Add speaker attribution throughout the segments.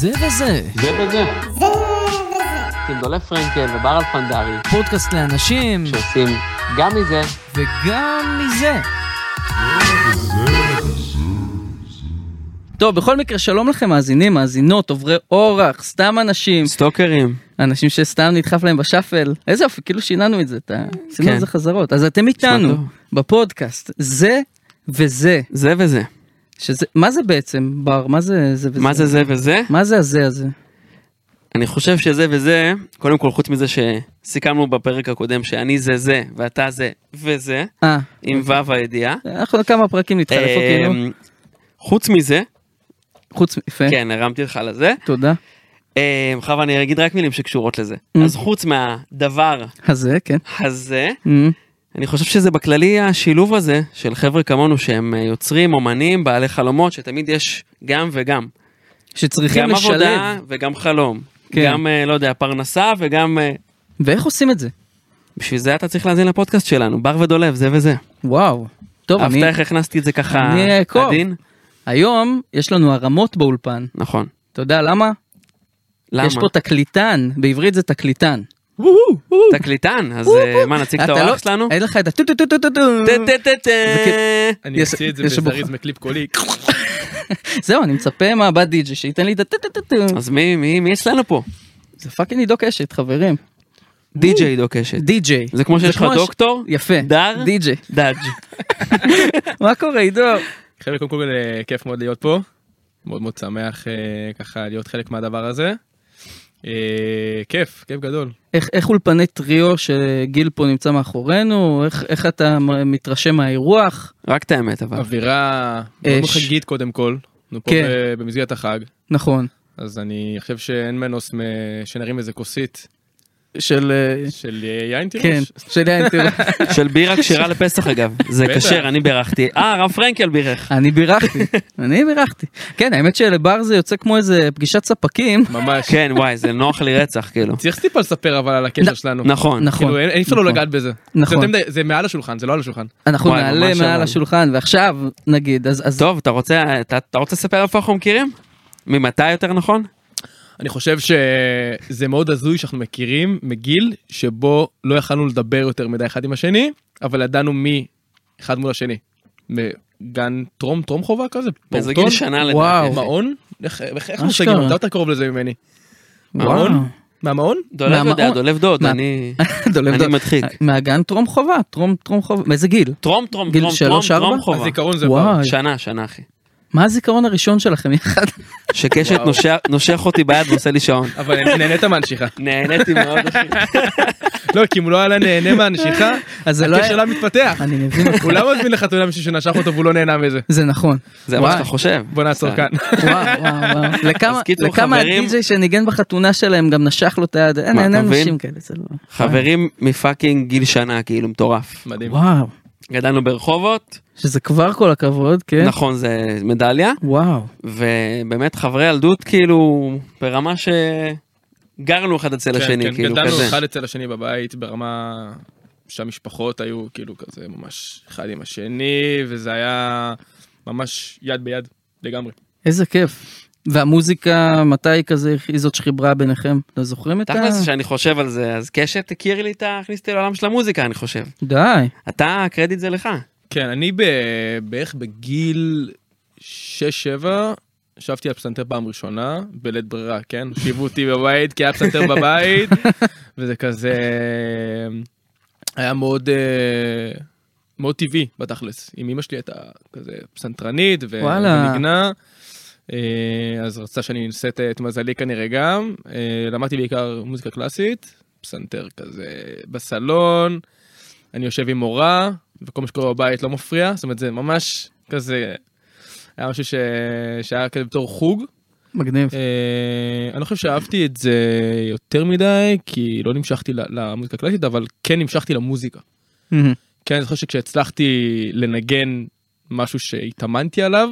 Speaker 1: זה וזה,
Speaker 2: זה וזה. עם דולף פרנקל וברל פנדרי,
Speaker 1: פודקאסט לאנשים,
Speaker 2: שעושים גם מזה
Speaker 1: וגם מזה. טוב, בכל מקרה, שלום לכם מאזינים, מאזינות, עוברי אורח, סתם אנשים,
Speaker 2: סטוקרים.
Speaker 1: אנשים שסתם נדחף להם בשאפל. איזה יופי, כאילו שיננו את זה, אתה... עשינו
Speaker 2: כן.
Speaker 1: את זה חזרות. אז אתם איתנו,
Speaker 2: טוב.
Speaker 1: בפודקאסט, זה וזה.
Speaker 2: זה וזה.
Speaker 1: שזה, מה זה בעצם, בר? מה זה זה וזה?
Speaker 3: מה זה זה וזה?
Speaker 1: מה זה הזה הזה?
Speaker 3: אני חושב שזה וזה, קודם כל חוץ מזה שסיכמנו בפרק הקודם שאני זה זה ואתה זה וזה,
Speaker 1: אה,
Speaker 3: עם
Speaker 2: אוקיי.
Speaker 3: ו' הידיעה.
Speaker 1: אנחנו כמה פרקים נתחלפו, כאילו.
Speaker 3: אמ, חוץ מזה,
Speaker 1: חוץ מ... יפה,
Speaker 3: כן הרמתי לך לזה,
Speaker 1: תודה.
Speaker 3: אמ, חווה אני אגיד רק מילים שקשורות לזה.
Speaker 1: Mm.
Speaker 3: אז חוץ מהדבר
Speaker 1: הזה, כן.
Speaker 3: הזה,
Speaker 1: אמ,
Speaker 3: אני חושב שזה בכללי השילוב הזה של חבר'ה כמונו שהם אה, יוצרים, אומנים, בעלי חלומות, שתמיד יש גם וגם.
Speaker 1: שצריכים
Speaker 3: גם עבודה
Speaker 1: לשלב.
Speaker 3: וגם חלום.
Speaker 1: כן.
Speaker 3: גם, אה, לא יודע, פרנסה וגם אה,
Speaker 1: ואיך עושים את זה?
Speaker 3: בשביל זה אתה צריך להאזין לפודקאסט שלנו, בר ודולב, זה וזה.
Speaker 1: וואו. טוב,
Speaker 3: אהבת
Speaker 1: אני...
Speaker 3: איך הכנסתי את זה ככה
Speaker 1: אני אעקוב.
Speaker 3: עדין?
Speaker 1: היום יש לנו הרמות באולפן.
Speaker 3: נכון.
Speaker 1: אתה יודע למה?
Speaker 3: למה?
Speaker 1: יש פה תקליטן, בעברית זה תקליטן.
Speaker 3: תקליטן, אז אה, מה, נציג את
Speaker 1: אתה לא-
Speaker 3: האורח שלנו?
Speaker 1: אין לך את ה... טו טו טו טו טו טו.
Speaker 3: טה, טה, טה, טה.
Speaker 1: וכי-
Speaker 4: אני
Speaker 1: יש-
Speaker 4: אוציא את זה
Speaker 1: יש שבוח-
Speaker 4: בזריז מקליפ קולי.
Speaker 1: זהו, אני מצפה מהבת די.ג'י שייתן לי את ה... טו טו טו טו.
Speaker 3: אז מי, מי, מי אצלנו פה?
Speaker 1: זה פאקינג עידו קשת, חברים.
Speaker 3: די.ג'יי דו קשת.
Speaker 1: די.ג'יי.
Speaker 3: זה כמו שיש לך
Speaker 1: ש-
Speaker 3: דוקטור?
Speaker 1: יפה.
Speaker 3: דר?
Speaker 1: די.ג'יי.
Speaker 3: דאג'.
Speaker 1: מה קורה, עידו?
Speaker 4: חבר'ה, קודם כל אה, כיף מאוד להיות פה. מאוד מאוד שמח אה, ככה להיות חלק מהדבר הזה. אה, כיף, כיף גדול.
Speaker 1: איך, איך אולפני טריו שגיל פה נמצא מאחורינו? איך, איך אתה מ- מתרשם מהאירוח?
Speaker 3: רק את האמת
Speaker 1: אוקיי.
Speaker 3: אבל.
Speaker 4: אווירה מאוד
Speaker 1: אש.
Speaker 4: חגיגית קודם כל. אנחנו פה
Speaker 1: אה, כן.
Speaker 4: ב- במסגרת החג.
Speaker 1: נכון.
Speaker 4: אז אני חושב שאין מנוס מ- שנרים איזה כוסית
Speaker 1: של... אה,
Speaker 4: של אה, יין תירוש.
Speaker 1: כן, של יין תירוש.
Speaker 3: של בירה כשרה לפסח אגב. זה
Speaker 4: בטח.
Speaker 3: כשר, אני בירכתי. אה, הרב פרנקל בירך.
Speaker 1: אני בירכתי, אני בירכתי. כן, האמת שלבר זה יוצא כמו איזה פגישת ספקים.
Speaker 4: ממש.
Speaker 3: כן, וואי, זה נוח לי רצח, כאילו.
Speaker 4: צריך טיפה לספר אבל על
Speaker 1: נ-
Speaker 4: הקשר שלנו.
Speaker 3: נכון.
Speaker 1: נכון,
Speaker 4: כאילו, אין אי אפשר לא
Speaker 1: נכון.
Speaker 4: לגעת בזה. זה
Speaker 1: נכון.
Speaker 4: יותר מדי- זה מעל השולחן, זה לא על השולחן.
Speaker 1: אנחנו
Speaker 3: וואי,
Speaker 1: נעלה
Speaker 3: ממש
Speaker 1: מעל
Speaker 3: אבל.
Speaker 1: השולחן, ועכשיו נגיד, אז... אז-
Speaker 3: טוב, אתה רוצה, אתה אתה רוצה לספר איפה אנחנו מכירים? ממתי יותר נכון?
Speaker 4: אני חושב שזה מאוד הזוי שאנחנו מכירים מגיל שבו לא יכלנו לדבר יותר מדי אחד עם השני, אבל ידענו מי אחד מול השני. מגן טרום טרום חובה כזה?
Speaker 3: באיזה
Speaker 4: פעוטון?
Speaker 3: גיל שנה לדעתי.
Speaker 1: וואו.
Speaker 4: מעון? איך איך- איך
Speaker 1: אשכרה.
Speaker 4: מושגים? אתה יותר קרוב לזה ממני.
Speaker 1: וואו.
Speaker 4: מעון? מהמעון?
Speaker 3: דולב יודע,
Speaker 1: מהמעון.
Speaker 3: דולב דוד,
Speaker 1: מה-
Speaker 3: אני...
Speaker 1: דולב
Speaker 3: אני
Speaker 1: דוד. אה,
Speaker 3: מדחיק.
Speaker 1: מהגן טרום חובה, טרום טרום חובה, מאיזה גיל?
Speaker 3: טרום, טרום,
Speaker 1: גיל
Speaker 3: טרום,
Speaker 1: שלוש,
Speaker 3: טרום,
Speaker 1: ארבע?
Speaker 3: טרום חובה.
Speaker 4: הזיכרון זה
Speaker 1: וואו.
Speaker 4: בר.
Speaker 3: שנה, שנה אחי.
Speaker 1: מה הזיכרון הראשון שלכם יחד?
Speaker 3: שקשת
Speaker 4: וואו.
Speaker 3: נושך- נושך אותי ביד ועושה לי שעון.
Speaker 4: אבל נהנית מהנשיכה.
Speaker 3: נהניתי מאוד אחי.
Speaker 4: לא, כי אם הוא לא היה נהנה מהנשיכה,
Speaker 1: אז זה לא
Speaker 4: הקשר
Speaker 1: היה...
Speaker 4: שלה מתפתח.
Speaker 1: אני מבין אותך.
Speaker 4: הוא לא מזמין לחתונה מישהו שנשך אותו והוא לא נהנה מזה.
Speaker 1: זה נכון.
Speaker 3: זה מה
Speaker 1: וואי.
Speaker 3: שאתה חושב.
Speaker 4: בוא נעצור
Speaker 1: כן.
Speaker 4: כאן.
Speaker 1: וואו, וואו, וואו. לכמה-
Speaker 3: אז קיצור,
Speaker 1: לכמה
Speaker 3: חברים-
Speaker 1: הדי.ג'יי שניגן בחתונה שלהם גם נשך לו את היד, אין
Speaker 3: מה,
Speaker 1: אין
Speaker 3: אתה מבין?
Speaker 1: אנשים כאלה, זה לא...
Speaker 3: חברים מפאקינג גיל שנה כאילו מטורף.
Speaker 4: מדהים.
Speaker 1: וואו,
Speaker 3: גדלנו ברחובות,
Speaker 1: שזה כבר כל הכבוד, כן?
Speaker 3: נכון זה מדליה,
Speaker 1: וואו.
Speaker 3: ובאמת חברי ילדות כאילו ברמה שגרנו אחד אצל
Speaker 4: כן,
Speaker 3: השני
Speaker 4: כן,
Speaker 3: כאילו
Speaker 4: גדלנו
Speaker 3: כזה.
Speaker 4: אחד אצל השני בבית ברמה שהמשפחות היו כאילו כזה ממש אחד עם השני, וזה היה ממש יד ביד לגמרי.
Speaker 1: איזה כיף. והמוזיקה, מתי כזה היא זאת שחיברה ביניכם? אתם זוכרים את ה...
Speaker 3: תכלס שאני חושב על זה אז קשת הכיר לי את ה... הכניס אותי לעולם של המוזיקה אני חושב.
Speaker 1: די.
Speaker 3: אתה הקרדיט זה לך.
Speaker 4: כן, אני ב... בערך בגיל 6-7 ישבתי על פסנתר פעם ראשונה, בלית ברירה, כן? שיבו אותי בבית כי היה פסנתר בבית, וזה כזה... היה מאוד... אה, מאוד טבעי בתכלס. עם אמא שלי הייתה כזה פסנתרנית ו-
Speaker 1: וואלה.
Speaker 4: וניגנה. אה, אז רצתה שאני אנסה את- את מזלי כנראה גם. אה, למדתי בעיקר מוזיקה קלאסית, פסנתר כזה בסלון, אני יושב עם מורה, וכל מה שקורה בבית לא מפריע, זאת אומרת זה ממש כזה, היה משהו ש... שהיה כזה בתור חוג.
Speaker 1: מגניב.
Speaker 4: אה, אני לא חושב שאהבתי את זה יותר מדי, כי לא נמשכתי ל- למוזיקה הקלאסית, אבל כן נמשכתי למוזיקה.
Speaker 1: מהמם.
Speaker 4: כן, אני זוכר שכשהצלחתי לנגן משהו שהתאמנתי עליו,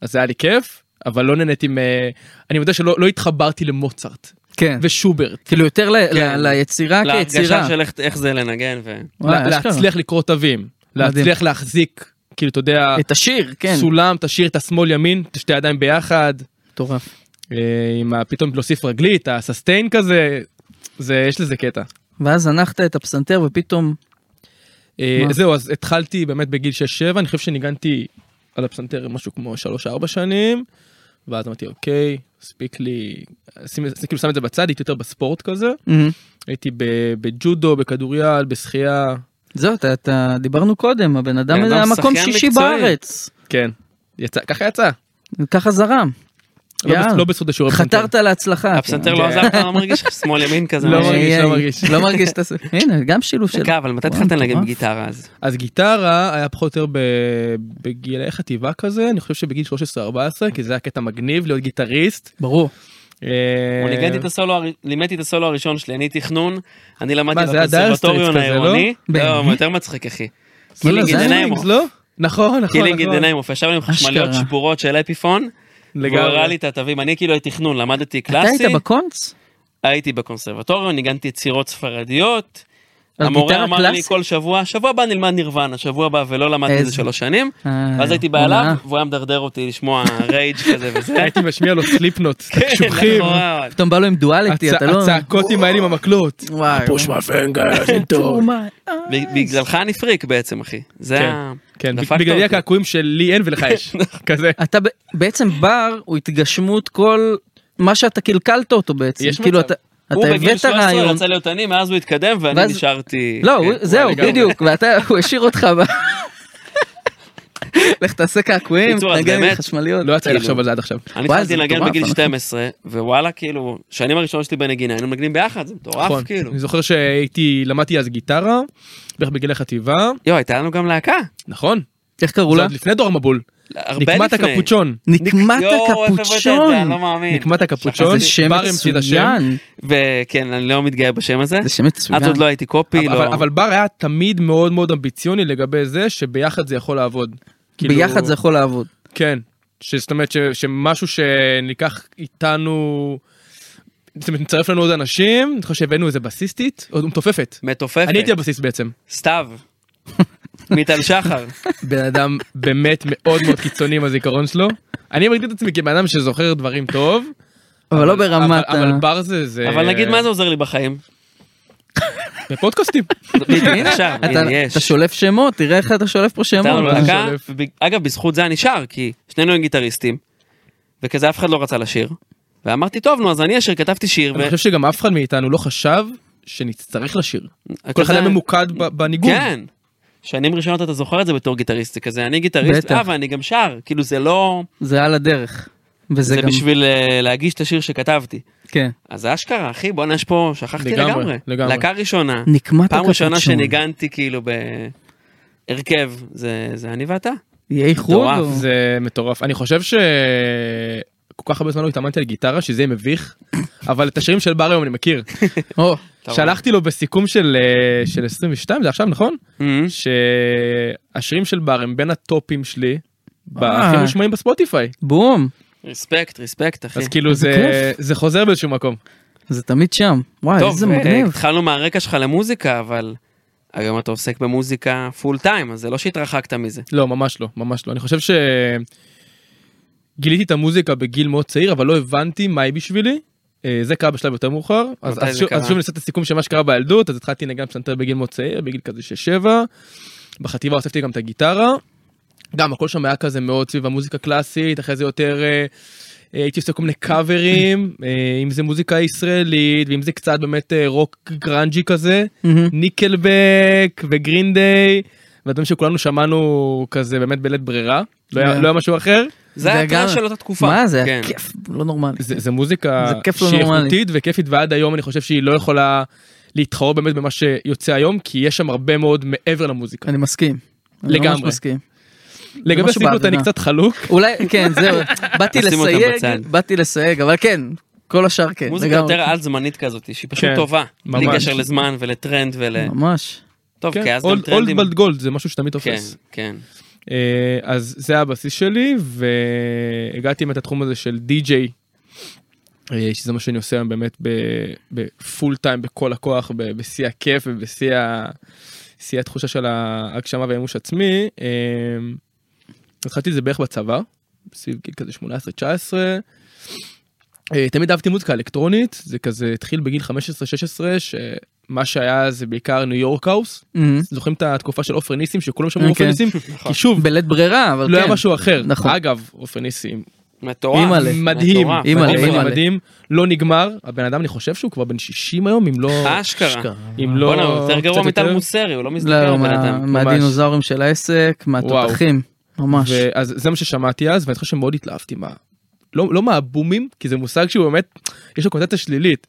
Speaker 4: אז היה לי כיף, אבל לא נהניתי מ... אני יודע שלא לא התחברתי למוצרט
Speaker 1: כן.
Speaker 4: ושוברט.
Speaker 1: כאילו יותר ל- ל-
Speaker 3: כן.
Speaker 1: ליצירה
Speaker 3: להרגשה
Speaker 1: כיצירה.
Speaker 3: של איך- איך זה לנגן ו...
Speaker 1: וואי,
Speaker 4: לה-
Speaker 1: אשכרה.
Speaker 4: להצליח לקרוא תווים,
Speaker 1: מדהים.
Speaker 4: להצליח להחזיק, כאילו, אתה יודע,
Speaker 1: את השיר, כן.
Speaker 4: סולם, תשאיר את השמאל ימין, את שתי הידיים ביחד.
Speaker 1: מטורף.
Speaker 4: אה, עם ה- פתאום להוסיף רגלית, הססטיין כזה, זה, יש לזה קטע.
Speaker 1: ואז זנחת את הפסנתר ופתאום,
Speaker 4: אה,
Speaker 1: מה?
Speaker 4: זהו, אז התחלתי באמת בגיל 6-7, אני חושב שניגנתי על הפסנתר משהו כמו 3-4 שנים, ואז אמרתי, אוקיי, הספיק לי, שים- כאילו שם את זה בצד, הייתי יותר בספורט כזה, הייתי ב- בג'ודו, בכדוריד, בשחייה,
Speaker 1: זהו, אתה- אתה, דיברנו קודם, הבן אדם
Speaker 3: בן
Speaker 1: הזה
Speaker 3: אדם
Speaker 1: היה מקום
Speaker 3: שחיין
Speaker 1: שישי
Speaker 3: מקצועי.
Speaker 1: בארץ.
Speaker 4: כן, יצא, ככה יצא,
Speaker 1: ככה זרם.
Speaker 4: לא
Speaker 1: יאללה.
Speaker 4: בז- לא בזכות השיעורי פסנתר.
Speaker 1: חתרת להצלחה.
Speaker 3: הפסנתר לא
Speaker 4: כן.
Speaker 3: עזר לך, לא מרגיש שמאל ימין כזה.
Speaker 4: לא
Speaker 3: משהו.
Speaker 4: מרגיש,
Speaker 1: איי,
Speaker 4: לא
Speaker 1: איי,
Speaker 4: מרגיש.
Speaker 1: לא מרגיש את הס... הנה, גם שילוב של...
Speaker 3: דקה, אבל מתי
Speaker 1: וואו,
Speaker 3: התחלת לנגן
Speaker 1: מטורף.
Speaker 3: בגיטרה אז?
Speaker 4: אז גיטרה היה פחות או יותר ב- בגילי חטיבה כזה, אני חושב שבגיל 13-14, כי זה היה קטע מגניב להיות גיטריסט.
Speaker 1: ברור.
Speaker 4: אה,
Speaker 3: הוא ניגנתי את הסולו, הר- לימדתי את הסולו הראשון שלי, אני תכנון, אני למדתי
Speaker 4: מה, זה היה דייר
Speaker 3: בקונסרבטוריון
Speaker 4: סטריטס כזה, לא?
Speaker 3: העירוני.
Speaker 1: באמת?
Speaker 3: לא, הוא יותר מצחיק אחי.
Speaker 4: לא, לא,
Speaker 3: קילינג
Speaker 4: זה
Speaker 3: אין
Speaker 4: היה
Speaker 3: עיניים,
Speaker 4: וינגס, לא? נכון, נכון,
Speaker 3: קילינג
Speaker 4: נכון.
Speaker 3: דניימוף, ישבנו עם חשמליות
Speaker 1: אשכרה.
Speaker 3: שבורות של אפיפון, והוא הראה לי את התווים, אני כאילו הייתי תכנון, למדתי
Speaker 1: אתה
Speaker 3: קלאסי,
Speaker 1: היית בקונץ?
Speaker 3: הייתי בקונסרבטוריון, ניגנתי יצירות ספרדיות,
Speaker 1: על
Speaker 3: המורה
Speaker 1: גיטרה
Speaker 3: אמר לי
Speaker 1: קלאסית?
Speaker 3: כל שבוע, שבוע הבא נלמד נירוונה, שבוע הבא ולא למדתי את זה
Speaker 1: איזה-
Speaker 3: שלוש שנים,
Speaker 1: אה,
Speaker 3: ואז הייתי
Speaker 1: הונאה.
Speaker 3: בעליו, והוא היה מדרדר אותי לשמוע רייג' כזה וזה.
Speaker 4: הייתי משמיע לו סליפנוט,
Speaker 3: כן,
Speaker 4: קשוחים,
Speaker 3: נכון.
Speaker 1: פתאום בא לו עם דואליטי,
Speaker 4: הצ-
Speaker 1: אתה לא...
Speaker 4: הצעקות עם האלה עם המקלות.
Speaker 1: וואי.
Speaker 4: פוש מהפנגר,
Speaker 3: ב- בגללך אני פריק בעצם אחי, זה
Speaker 4: כן,
Speaker 3: ה...
Speaker 4: כן,
Speaker 3: דפקת
Speaker 4: בגלל
Speaker 3: אותי. נכון.
Speaker 4: הקעקועים שלי אין ולך יש. כזה.
Speaker 1: אתה ב- בעצם בר הוא התגשמות כל מה שאתה קלקלת אותו בעצם.
Speaker 4: יש
Speaker 1: כאילו
Speaker 4: מצב.
Speaker 1: אתה אתה
Speaker 3: הוא בגיל
Speaker 1: הבאת
Speaker 3: 13
Speaker 1: רעיון.
Speaker 3: רצה להיות אני, מאז הוא התקדם ואני
Speaker 1: ואז-
Speaker 3: נשארתי...
Speaker 1: לא,
Speaker 3: כן.
Speaker 1: הוא- זהו,
Speaker 4: לגמרי.
Speaker 1: בדיוק, ואתה, הוא השאיר אותך ב... לך תעשה קעקועים,
Speaker 3: בקיצור, אז
Speaker 1: תנגן עם
Speaker 3: באמת,
Speaker 1: חשמליות.
Speaker 4: לא יצא לי
Speaker 3: כאילו.
Speaker 4: לחשוב על זה עד עכשיו.
Speaker 3: אני
Speaker 1: וואי,
Speaker 3: התחלתי
Speaker 1: זה
Speaker 3: לנגן
Speaker 1: מטורף,
Speaker 3: בגיל
Speaker 1: אנחנו-
Speaker 3: 12, ווואלה, כאילו, שנים הראשונות שלי בנגינה, היינו מנגנים ביחד, זה
Speaker 4: נכון.
Speaker 3: מטורף, כאילו.
Speaker 4: אני זוכר שהייתי, למדתי אז גיטרה, בערך בגיל החטיבה,
Speaker 3: יואו, הייתה לנו גם להקה,
Speaker 4: נכון,
Speaker 1: איך
Speaker 4: זה
Speaker 1: קראו לה?
Speaker 4: עוד לפני דור המבול.
Speaker 3: הרבה
Speaker 4: נקמת
Speaker 3: לפני.
Speaker 4: הקפוצ'ון.
Speaker 1: נקמת
Speaker 3: יואו, איך הבאת את זה? אני
Speaker 1: הקפוצ'ון.
Speaker 3: לא מאמין.
Speaker 4: נקמת הקפוצ'ון.
Speaker 1: זה שם
Speaker 4: בר המציא את השם.
Speaker 1: מצוין.
Speaker 3: וכן, אני לא מתגאה בשם הזה.
Speaker 1: זה שם מצוין.
Speaker 3: אז עוד לא הייתי קופי,
Speaker 4: אבל-
Speaker 3: לא...
Speaker 4: אבל בר היה תמיד מאוד מאוד אמביציוני לגבי זה שביחד זה יכול לעבוד. כאילו-
Speaker 1: ביחד זה יכול לעבוד.
Speaker 4: כן. שזאת אומרת ש- שמשהו שניקח איתנו, זאת אומרת נצרף לנו עוד אנשים, אני חושב שהבאנו איזה בסיסטית, עוד מתופפת.
Speaker 3: מתופפת.
Speaker 4: אני הייתי הבסיס בעצם.
Speaker 3: סתיו. מיטל שחר.
Speaker 4: בן אדם באמת מאוד מאוד קיצוני עם הזיכרון שלו. אני מגדיר את עצמי כבן אדם שזוכר דברים טוב.
Speaker 1: אבל לא ברמת
Speaker 4: אבל- אבל
Speaker 1: ה...
Speaker 4: בר זה זה...
Speaker 3: אבל נגיד, מה זה עוזר לי בחיים?
Speaker 4: בפודקאסטים.
Speaker 3: בדיוק, כן, עכשיו,
Speaker 1: אתה-
Speaker 3: הנה, יש. לא
Speaker 1: אתה שולף שמות, תראה איך אתה שולף פה
Speaker 3: הייתה לנו
Speaker 1: שמות.
Speaker 4: ממש
Speaker 3: להקה,
Speaker 4: שולף.
Speaker 3: וב- אגב בזכות זה אני שר כי שנינו היינו גיטריסטים. וכזה אף אחד לא רצה לשיר. ואמרתי טוב נו אז אני אשיר כתבתי שיר.
Speaker 4: אני
Speaker 3: ו-
Speaker 4: חושב שגם אף אחד מאיתנו לא חשב שנצטרך לשיר. כל אחד
Speaker 3: כזה-
Speaker 4: היה ממוקד ב- בניגון.
Speaker 3: כן. שנים ראשונות אתה זוכר את זה בתור גיטריסט זה כזה אני גיטריסט
Speaker 1: בטח.
Speaker 3: אה, ואני גם שר כאילו זה לא
Speaker 1: זה על הדרך. וזה
Speaker 3: זה
Speaker 1: גם...
Speaker 3: בשביל אה, להגיש את השיר שכתבתי.
Speaker 1: כן.
Speaker 3: אז זה אשכרה אחי בואנה יש פה שכחתי
Speaker 4: לגמרי,
Speaker 3: לגמרי.
Speaker 4: לגמרי.
Speaker 3: להקה ראשונה.
Speaker 1: נקמת
Speaker 3: פעם ראשונה
Speaker 1: הקפוצ'ון.
Speaker 3: שניגנתי כאילו בהרכב זה זה אני ואתה.
Speaker 1: יהיה איחוד
Speaker 3: מטורף,
Speaker 1: או-
Speaker 4: זה מטורף. אני חושב ש... כל כך הרבה זמן לא התאמנתי על גיטרה שזה יהיה מביך, אבל את השירים של בר היום אני מכיר.
Speaker 1: או,
Speaker 3: אתה
Speaker 4: שלחתי לו בסיכום של אה, של 22 זה עכשיו נכון?
Speaker 1: כן.
Speaker 3: רואה?
Speaker 1: Mm-hmm.
Speaker 4: שהשירים של בר הם בין הטופים שלי. ב-
Speaker 1: אה.
Speaker 4: הכי מושמעים בספוטיפיי
Speaker 1: בום.
Speaker 3: רספקט רספקט אחי.
Speaker 4: אז כאילו
Speaker 1: כן. איזה
Speaker 4: זה זה חוזר באיזשהו מקום
Speaker 1: זה תמיד שם. וואי,
Speaker 3: טוב,
Speaker 1: איזה
Speaker 3: אה,
Speaker 1: מגניב.
Speaker 3: התחלנו מהרקע שלך למוזיקה, אבל היום אתה עוסק במוזיקה פול טיים, אז זה לא שהתרחקת מזה.
Speaker 4: לא ממש לא ממש לא אני חושב ש... גיליתי את המוזיקה בגיל מאוד צעיר אבל לא הבנתי מה היא בשבילי. אה, זה קרה בשלב יותר מאוחר אז,
Speaker 3: מתי
Speaker 4: אז,
Speaker 3: זה
Speaker 4: שוב,
Speaker 3: קרה?
Speaker 4: אז שוב נעשה את הסיכום של מה שקרה בילדות אז התחלתי לנגן פסנתר בגיל מאוד צעיר בגיל כזה 6-7 בחטיבה הוספתי גם את הגיטרה. גם הכל שם היה כזה מאוד סביב המוזיקה קלאסית אחרי זה יותר אה, אה, הייתי עושה כל מיני קאברים אה, אם זה מוזיקה ישראלית ואם זה קצת באמת אה, רוק גרנג'י כזה
Speaker 3: Mm-hmm. אה,
Speaker 1: מהמם.
Speaker 4: ניקלבק וגרין דיי והדברים שכולנו שמענו כזה באמת בלית ברירה לא היה
Speaker 1: כן.
Speaker 4: לא היה משהו אחר
Speaker 3: זה ההתראה
Speaker 1: גם-
Speaker 3: של אותה תקופה.
Speaker 1: מה זה?
Speaker 3: כן.
Speaker 1: היה כיף, לא נורמלי.
Speaker 4: זה זה מוזיקה
Speaker 1: זה כיף לא
Speaker 4: שהיא
Speaker 1: נורמלי.
Speaker 4: איכותית וכיפית ועד היום אני חושב שהיא לא יכולה להתחרות באמת במה שיוצא היום כי יש שם הרבה מאוד מעבר למוזיקה.
Speaker 1: אני מסכים. אני ממש
Speaker 4: לגמרי.
Speaker 1: מסכים.
Speaker 4: לגבי
Speaker 1: משהו
Speaker 4: הסינגלות אני
Speaker 1: באווירה.
Speaker 4: קצת חלוק
Speaker 1: אולי, כן, זהו, באתי
Speaker 3: נשים אותם
Speaker 1: לסייג,
Speaker 3: בצד.
Speaker 1: באתי לסייג, אבל כן, כל השאר כן.
Speaker 3: מוזיקה
Speaker 1: לגמרי.
Speaker 3: יותר על-זמנית כזאת, שהיא פשוט
Speaker 4: כן,
Speaker 3: טובה. בלי
Speaker 4: ממש. כן,
Speaker 3: קשר לזמן ולטרנד ול...
Speaker 1: ממש.
Speaker 3: טוב, כי אוקיי, אז גם
Speaker 4: אולד
Speaker 3: טרנדים...
Speaker 4: בלד גולד זה משהו שתמיד
Speaker 3: כן,
Speaker 4: תופס.
Speaker 3: כן.
Speaker 4: אה, אז זה הבסיס שלי והגעתי באמת לתחום הזה של די-ג'יי. אה, שזה מה שאני עושה היום באמת ב- בפול טיים בכל הכוח ב- בשיא הכיף ובשיא ה- שיא התחושה של ההגשמה והמימוש עצמי. אה, התחלתי את זה בערך בצבא, סביב גיל כזה 18-19. אה, תמיד אהבתי מוזיקה אלקטרונית, זה כזה התחיל בגיל 15-16, שמה שהיה זה בעיקר ניו יורק האוס. זוכרים את התקופה של עופר ניסים, שכולם שמעו
Speaker 1: כן.
Speaker 4: עופר ניסים? כי שוב,
Speaker 1: בלית ברירה, אבל
Speaker 4: לא
Speaker 1: כן.
Speaker 4: היה משהו אחר.
Speaker 1: נכון.
Speaker 4: אגב, עופר ניסים,
Speaker 3: מטורף.
Speaker 1: אימא'לה.
Speaker 4: מדהים,
Speaker 3: מטורף,
Speaker 4: מדהים,
Speaker 1: אימא'לה,
Speaker 4: מדהים,
Speaker 1: אימא'לה.
Speaker 4: מדהים, לא נגמר. הבן אדם, אני חושב שהוא כבר בן 60 היום, אם לא...
Speaker 3: אשכרה.
Speaker 4: אם לא...
Speaker 3: בואנה, הוא יותר
Speaker 4: קצת
Speaker 3: גרוע מטל
Speaker 4: יותר.
Speaker 3: מוסרי, הוא לא מזדקן
Speaker 1: לא,
Speaker 3: הבן
Speaker 1: מה-
Speaker 3: אדם.
Speaker 1: מהדינוזאורים של העסק, מהתותחים, ממש.
Speaker 4: ואז זה מה ששמעתי אז ואני חושב שמאוד התלהבתי מה... לא, לא מהבומים כי זה מושג שהוא באמת יש לו קונטציה שלילית.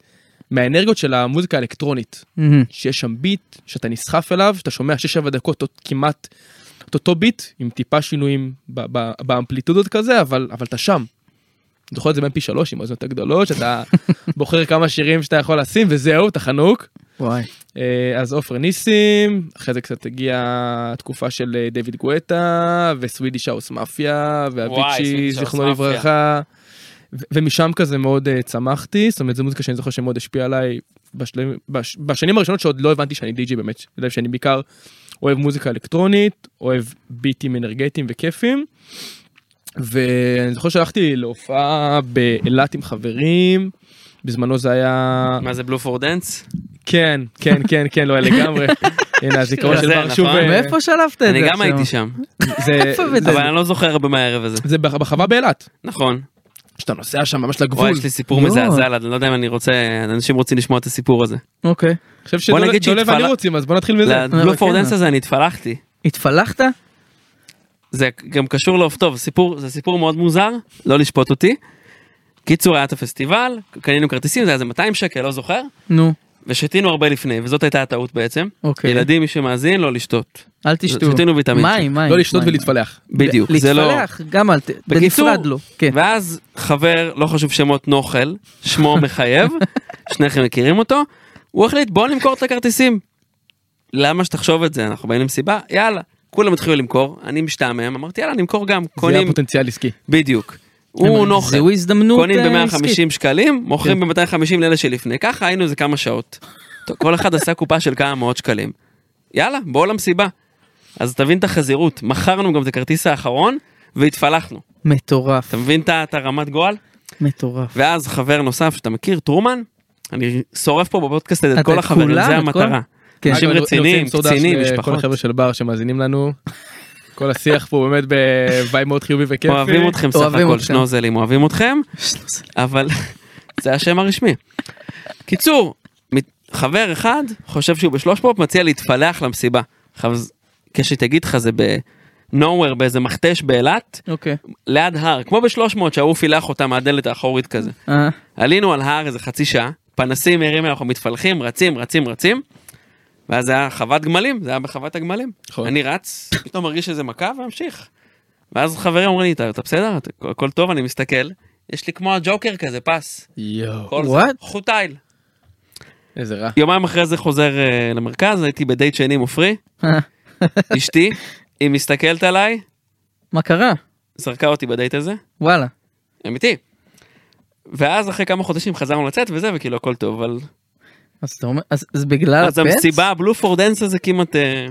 Speaker 4: מהאנרגיות של המוזיקה האלקטרונית
Speaker 1: מהמם.
Speaker 4: שיש שם ביט שאתה נסחף אליו שאתה שומע 6-7 דקות או- כמעט את אותו ביט עם טיפה שינויים ב- ב- באמפליטודות כזה אבל אבל אתה שם. אני זוכר את זה בין פי שלוש עם האוזנות הגדולות שאתה בוחר כמה שירים שאתה יכול לשים וזהו אתה חנוק.
Speaker 1: וואי.
Speaker 4: אה, אז עופר ניסים, אחרי זה קצת הגיעה התקופה של אה, דיוויד גואטה וסווידיש האוס מאפיה
Speaker 3: וואי,
Speaker 4: ואביצ'י
Speaker 3: סווידיש האוס
Speaker 4: זיכרונו
Speaker 3: מאפיה.
Speaker 4: לברכה. ו- ומשם כזה מאוד אה, צמחתי, זאת אומרת זו מוזיקה שאני זוכר שמאוד השפיעה עליי בשל... בש... בשנים הראשונות שעוד לא הבנתי שאני די.ג'י באמת, אתה יודע שאני בעיקר אוהב מוזיקה אלקטרונית, אוהב ביטים אנרגטיים וכיפים. ואני זוכר שהלכתי להופעה באילת עם חברים, בזמנו זה היה...
Speaker 3: מה זה בלו פור דנס?
Speaker 4: כן, כן, כן, כן, לא, לגמרי. הנה הזיכרון של
Speaker 3: זה,
Speaker 4: בר
Speaker 3: נכון.
Speaker 4: שוב. אה,
Speaker 1: מאיפה שלפת את זה?
Speaker 3: אני גם
Speaker 1: עכשיו?
Speaker 3: הייתי שם,
Speaker 4: זה-
Speaker 1: איפה הבאת?
Speaker 3: אבל אני לא זוכר הרבה מהערב הזה.
Speaker 4: זה בח- בחווה באילת.
Speaker 3: נכון.
Speaker 4: שאתה נוסע שם ממש לגבול.
Speaker 3: וואי, יש לי סיפור
Speaker 1: לא.
Speaker 3: מזעזע, אני לא יודע אם אני רוצה, אנשים רוצים לשמוע את הסיפור הזה.
Speaker 1: אוקיי.
Speaker 4: אני חושב לא שדולב
Speaker 3: נגיד לא,
Speaker 4: דולב ואני
Speaker 3: שהתפלה-
Speaker 4: רוצים, אז בוא נתחיל מזה. לא
Speaker 1: אבל
Speaker 3: לבלו פור
Speaker 1: כן,
Speaker 3: דנס הזה אני התפלחתי.
Speaker 1: התפלחת?
Speaker 3: זה גם קשור לעוף טוב, סיפור, זה סיפור מאוד מוזר, לא לשפוט אותי. קיצור, היה את הפסטיבל, קנינו כרטיסים, זה היה איזה 200 שקל, לא זוכר,
Speaker 1: נו,
Speaker 3: ושתינו הרבה לפני, וזאת הייתה הטעות בעצם.
Speaker 1: אוקיי.
Speaker 3: ילדים, מי שמאזין, לא לשתות.
Speaker 1: אל תשתו.
Speaker 3: שתינו ויטמין.
Speaker 1: מים, מים.
Speaker 4: לא לשתות
Speaker 1: מים.
Speaker 4: ולהתפלח.
Speaker 3: בדיוק, זה לא...
Speaker 1: להתפלח, גם אל ת...
Speaker 3: בקיצור,
Speaker 1: בנפרד לא. כן.
Speaker 3: ואז חבר, לא חשוב שמות נוכל, שמו מחייב, שניכם מכירים אותו, הוא החליט בוא נמכור את הכרטיסים. למה שתחשוב את זה, אנחנו באים למסיבה, יאללה. כולם התחילו למכור, אני משתעמם, אמרתי יאללה נמכור גם,
Speaker 4: זה היה
Speaker 3: קונים, כן,
Speaker 4: פוטנציאל עסקי.
Speaker 3: בדיוק.
Speaker 1: אבל
Speaker 3: הוא נוכל,
Speaker 1: זהו הזדמנות
Speaker 3: קונים
Speaker 1: אה, עסקית. כן.
Speaker 3: ב-150 שקלים, מוכרים ב-250 לאלה שלפני, ככה היינו איזה כמה שעות. טוב, כל אחד עשה קופה של כמה מאות שקלים. יאללה, בואו למסיבה. אז תבין את החזירות, מכרנו גם את הכרטיס האחרון והתפלחנו.
Speaker 1: מטורף,
Speaker 3: אתה מבין את ה- את הרמת גועל?
Speaker 1: מטורף.
Speaker 3: ואז חבר נוסף שאתה מכיר, טרומן, אני שורף פה בפודקאסט הזה
Speaker 1: אתה
Speaker 3: את כל
Speaker 1: את
Speaker 3: החברים,
Speaker 1: כולם,
Speaker 3: זה
Speaker 1: את
Speaker 3: המטרה.
Speaker 1: כן.
Speaker 3: אנשים
Speaker 4: אגב, אני רוצה
Speaker 3: רציניים,
Speaker 4: למסור דש
Speaker 3: קצינים,
Speaker 4: לכל
Speaker 3: משפחות.
Speaker 4: אה, החבר'ה של בר שמאזינים לנו. כל השיח פה באמת בוואי מאוד חיובי וכיפי.
Speaker 3: אוהבים אתכם סך
Speaker 1: אוהבים
Speaker 3: הכל,
Speaker 1: אתכם.
Speaker 3: שנוזלים אוהבים אתכם, אבל זה השם הרשמי. קיצור, מת- חבר אחד חושב שהוא בשלוש פופ, מציע להתפלח למסיבה. חב- כשהיא תגיד לך זה בנוהוור, באיזה מכתש באילת,
Speaker 1: אוקיי.
Speaker 3: ליד הר, כמו בשלוש מאות שההוא פילח אותה מהדלת האחורית כזה.
Speaker 1: אה,
Speaker 3: עלינו על הר איזה חצי שעה, פנסים הרים, אנחנו מתפלחים, רצים, רצים, רצים. ואז זה היה חוות גמלים, זה היה בחוות הגמלים.
Speaker 4: נכון.
Speaker 3: אני רץ, פתאום מרגיש איזה מכה וממשיך. ואז חברים אומרים לי, "אתה אתה בסדר? אתה- הכל טוב, אני מסתכל. יש לי כמו הג'וקר כזה, פס.
Speaker 4: יואו,
Speaker 3: כל זה,
Speaker 1: What?
Speaker 3: חוט תיל.
Speaker 4: איזה רע.
Speaker 3: יומיים אחרי זה חוזר אה, למרכז, הייתי בדייט שני עם עופרי,
Speaker 1: אה,
Speaker 3: אשתי, היא מסתכלת עליי,
Speaker 1: מה קרה?
Speaker 3: זרקה אותי בדייט הזה,
Speaker 1: וואלה.
Speaker 3: אמיתי. ואז אחרי כמה חודשים חזרנו לצאת וזה, וכאילו הכל טוב, אבל
Speaker 1: אז אתה אומר, אז אז בגלל הפץ?
Speaker 3: אז המסיבה, הבלו פור דנס הזה כמעט, אה,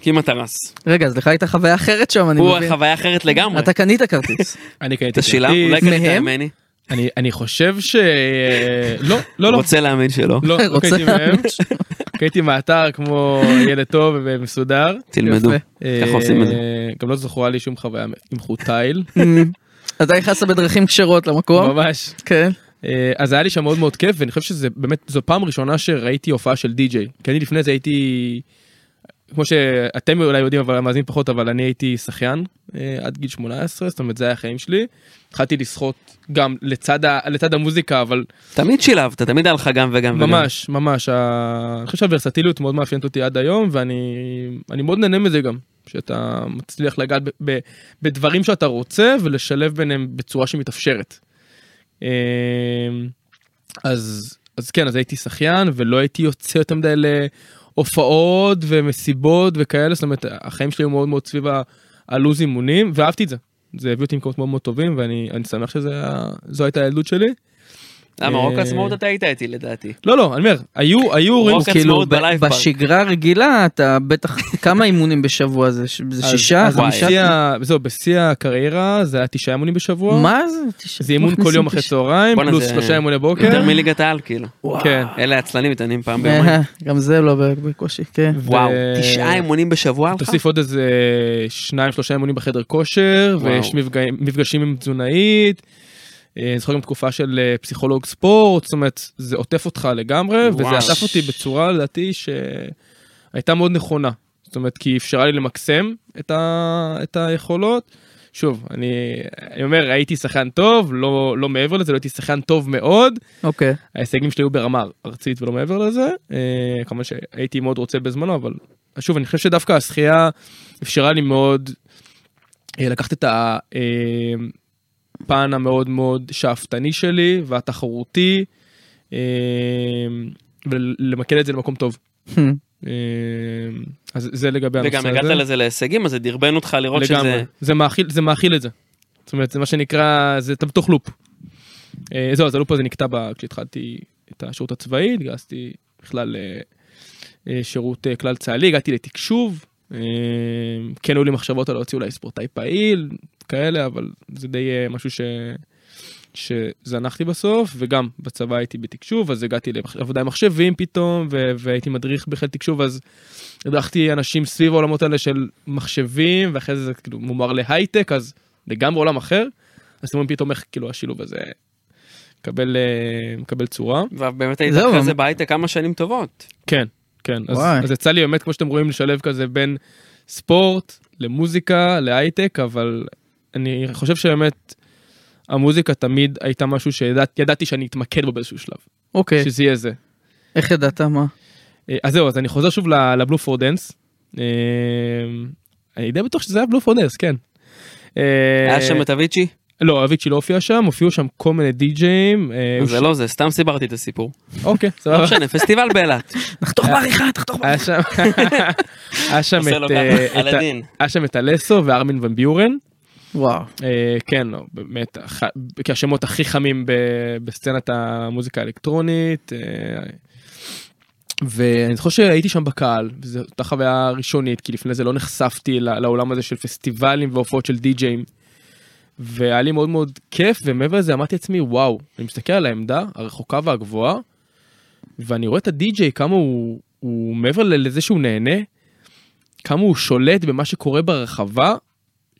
Speaker 3: כמעט הרס.
Speaker 1: רגע, אז לך הייתה חוויה אחרת שם, אני
Speaker 3: הוא
Speaker 1: מבין.
Speaker 3: חוויה אחרת לגמרי.
Speaker 1: אתה קנית כרטיס.
Speaker 4: אני קניתי
Speaker 3: אתה שילם?
Speaker 4: כרטיס.
Speaker 3: אולי קנית
Speaker 1: מהם?
Speaker 3: ממני?
Speaker 4: אני- אני חושב ש... לא, לא, לא.
Speaker 3: רוצה להאמין שלא.
Speaker 4: לא, לא
Speaker 1: רוצה
Speaker 4: קניתי מהם. קניתי מהאתר כמו ילד טוב ומסודר.
Speaker 3: תלמדו.
Speaker 1: יפה.
Speaker 3: ככה עושים את זה.
Speaker 4: אה, גם לא זכורה לי שום חוויה עם חוט תיל,
Speaker 1: Mm. אתה נכנסת בדרכים כשרות למקום.
Speaker 4: ממש.
Speaker 1: כן.
Speaker 4: אה, אז היה לי שם מאוד מאוד כיף, ואני חושב שזה באמת, זו פעם ראשונה שראיתי הופעה של די-ג'יי. כי אני לפני זה הייתי, כמו שאתם אולי יודעים, אבל המאזינים פחות, אבל אני הייתי שחיין אה, עד גיל 18, זאת אומרת זה היה החיים שלי. התחלתי לשחות גם לצד, ה, לצד המוזיקה, אבל
Speaker 3: תמיד שילבת, תמיד היה לך גם וגם וגם.
Speaker 4: ממש, ממש, ה- אני חושב שהוורסטיליות מאוד מאפיינת אותי עד היום, ואני אני מאוד נהנה מזה גם, שאתה מצליח לגעת ב- ב- בדברים שאתה רוצה ולשלב ביניהם בצורה שמתאפשרת. אמ, אז, אז כן, אז הייתי שחיין ולא הייתי יוצא יותר מדי להופעות ומסיבות וכאלה, זאת אומרת, החיים שלי היו מאוד מאוד סביב ה- הלו"ז אימונים, ואהבתי את זה. זה הביא אותי למקומות מאוד מאוד טובים, ואני אני שמח שזו הייתה הילדות שלי.
Speaker 3: למה, רוק
Speaker 4: אה,
Speaker 3: עצמאות אתה היית איתי לדעתי.
Speaker 4: לא, לא, אני אומר, היו, היו
Speaker 3: רוק
Speaker 4: הורים,
Speaker 1: הוא כאילו
Speaker 3: עצמאות
Speaker 1: ב-
Speaker 3: בלייב פארק.
Speaker 1: בשגרה הרגילה אתה בטח כמה אימונים בשבוע זה ש- זה
Speaker 4: אז-
Speaker 1: שישה
Speaker 4: אז
Speaker 3: וואי.
Speaker 1: חמישה
Speaker 4: בשיא ה- זהו, בשיא הקריירה זה היה תשעה אימונים בשבוע.
Speaker 1: מה זה תשעה,
Speaker 4: זה אימון כל
Speaker 1: מכניסים
Speaker 4: יום אחרי
Speaker 1: תשעה.
Speaker 4: צהריים,
Speaker 3: בואנה,
Speaker 4: פלוס
Speaker 3: זה-
Speaker 4: שלושה אימוני בוקר.
Speaker 3: יותר מליגת העל כאילו.
Speaker 4: אוקיי. כן.
Speaker 3: אלה עצלנים מתעניינים פעם
Speaker 1: אה,
Speaker 3: ביומיים.
Speaker 1: גם זה לא בקושי כן
Speaker 4: ו-
Speaker 3: וואו, תשעה אימונים בשבוע לך?
Speaker 4: תוסיף עוד איזה שניים שלושה אימונים בחדר כושר
Speaker 3: וואו.
Speaker 4: ויש מפגעים- מפגשים עם תזונאית. אה, אני זוכר גם תקופה של אה, פסיכולוג ספורט זאת אומרת זה עוטף אותך לגמרי
Speaker 3: וואו.
Speaker 4: וזה עטף אותי בצורה לדעתי שהייתה מאוד נכונה. זאת אומרת כי היא אפשרה לי למקסם את, ה... את היכולות. שוב אני, אני אומר הייתי שחקן טוב לא לא מעבר לזה לא הייתי שחקן טוב מאוד
Speaker 1: אוקיי
Speaker 4: ההישגים שלי היו ברמה ארצית ולא מעבר לזה. אה, כמובן שהייתי מאוד רוצה בזמנו, אבל שוב, אני חושב שדווקא השחייה אפשרה לי מאוד אה, לקחת את הפן המאוד מאוד שאפתני שלי והתחרותי, אה, ולמקד את זה למקום טוב. אה, אז זה לגבי הנושא
Speaker 3: וגם
Speaker 4: הזה.
Speaker 3: הגעת לזה להישגים, אז זה דרבן אותך לראות שזה...
Speaker 4: לגמרי. זה מאכיל, זה מאכיל את זה. זאת אומרת, זה מה שנקרא, זה אתה בתוך לופ. אה, זהו, אז הלופ הזה נקטע ב- כשהתחלתי את השירות הצבאי, התגייסתי בכלל אה, אה, שירות אה, כלל צה"לי, הגעתי לתקשוב. אה, כן היו לי מחשבות על להוציא אולי ספורטאי פעיל, כאלה, אבל זה די אה, משהו ש... שזנחתי בסוף, וגם בצבא הייתי בתקשוב, אז הגעתי לעבודה עם מחשבים פתאום, ו- והייתי מדריך בחיל תקשוב, אז הדרכתי אנשים סביב העולמות האלה של מחשבים, ואחרי זה זה כאילו מומר להייטק, אז לגמרי עולם אחר. אז אתם רואים פתאום איך כאילו השילוב הזה מקבל, אה, מקבל צורה.
Speaker 3: ובאמת היית
Speaker 1: זהו,
Speaker 3: אחרי
Speaker 1: אמ-
Speaker 3: זה בהייטק כמה שנים טובות.
Speaker 4: כן, כן. אז,
Speaker 1: וואי.
Speaker 4: אז יצא לי באמת, כמו שאתם רואים, לשלב כזה בין ספורט למוזיקה, להייטק, אבל אני חושב שבאמת המוזיקה תמיד הייתה משהו שידעתי שאני אתמקד בו באיזשהו שלב,
Speaker 1: אוקיי
Speaker 4: שזה יהיה זה.
Speaker 1: איך ידעת מה
Speaker 4: אה, אז זהו, אז אני חוזר שוב לבלו פור דנס. אני די בטוח שזה היה בלו פור דנס, כן. אה,
Speaker 3: היה שם את אביצ'י?
Speaker 4: לא, אביצ'י לא הופיע שם, הופיעו שם כל מיני די-ג'אים. אה, היו
Speaker 3: זה
Speaker 4: ש-
Speaker 3: לא זה, סתם סיברתי את הסיפור.
Speaker 4: אוקיי,
Speaker 3: לא
Speaker 4: סבבה.
Speaker 3: משנה, פסטיבל באילת.
Speaker 1: נחתוך בעריכה תחתוך
Speaker 4: היה שם היה שם
Speaker 3: עושה לו
Speaker 4: את,
Speaker 3: ככה,
Speaker 4: אה, את ה-
Speaker 3: אלאדין.
Speaker 4: היה שם את אלסו וארמין ומביורן.
Speaker 1: וואו
Speaker 4: אה, כן, לא, באמת, אח- כשהשמות הכי חמים ב- בסצנת המוזיקה האלקטרונית. אה, ואני זוכר שהייתי שם בקהל, וזו הייתה חוויה ראשונית, כי לפני זה לא נחשפתי ל- לעולם הזה של פסטיבלים והופעות של די-ג'אים. והיה לי מאוד מאוד כיף, ומעבר לזה אמרתי לעצמי, וואו, אני מסתכל על העמדה הרחוקה והגבוהה, ואני רואה את הדי-ג'יי כמה הוא, הוא מעבר ל- לזה שהוא נהנה, כמה הוא שולט במה שקורה ברחבה,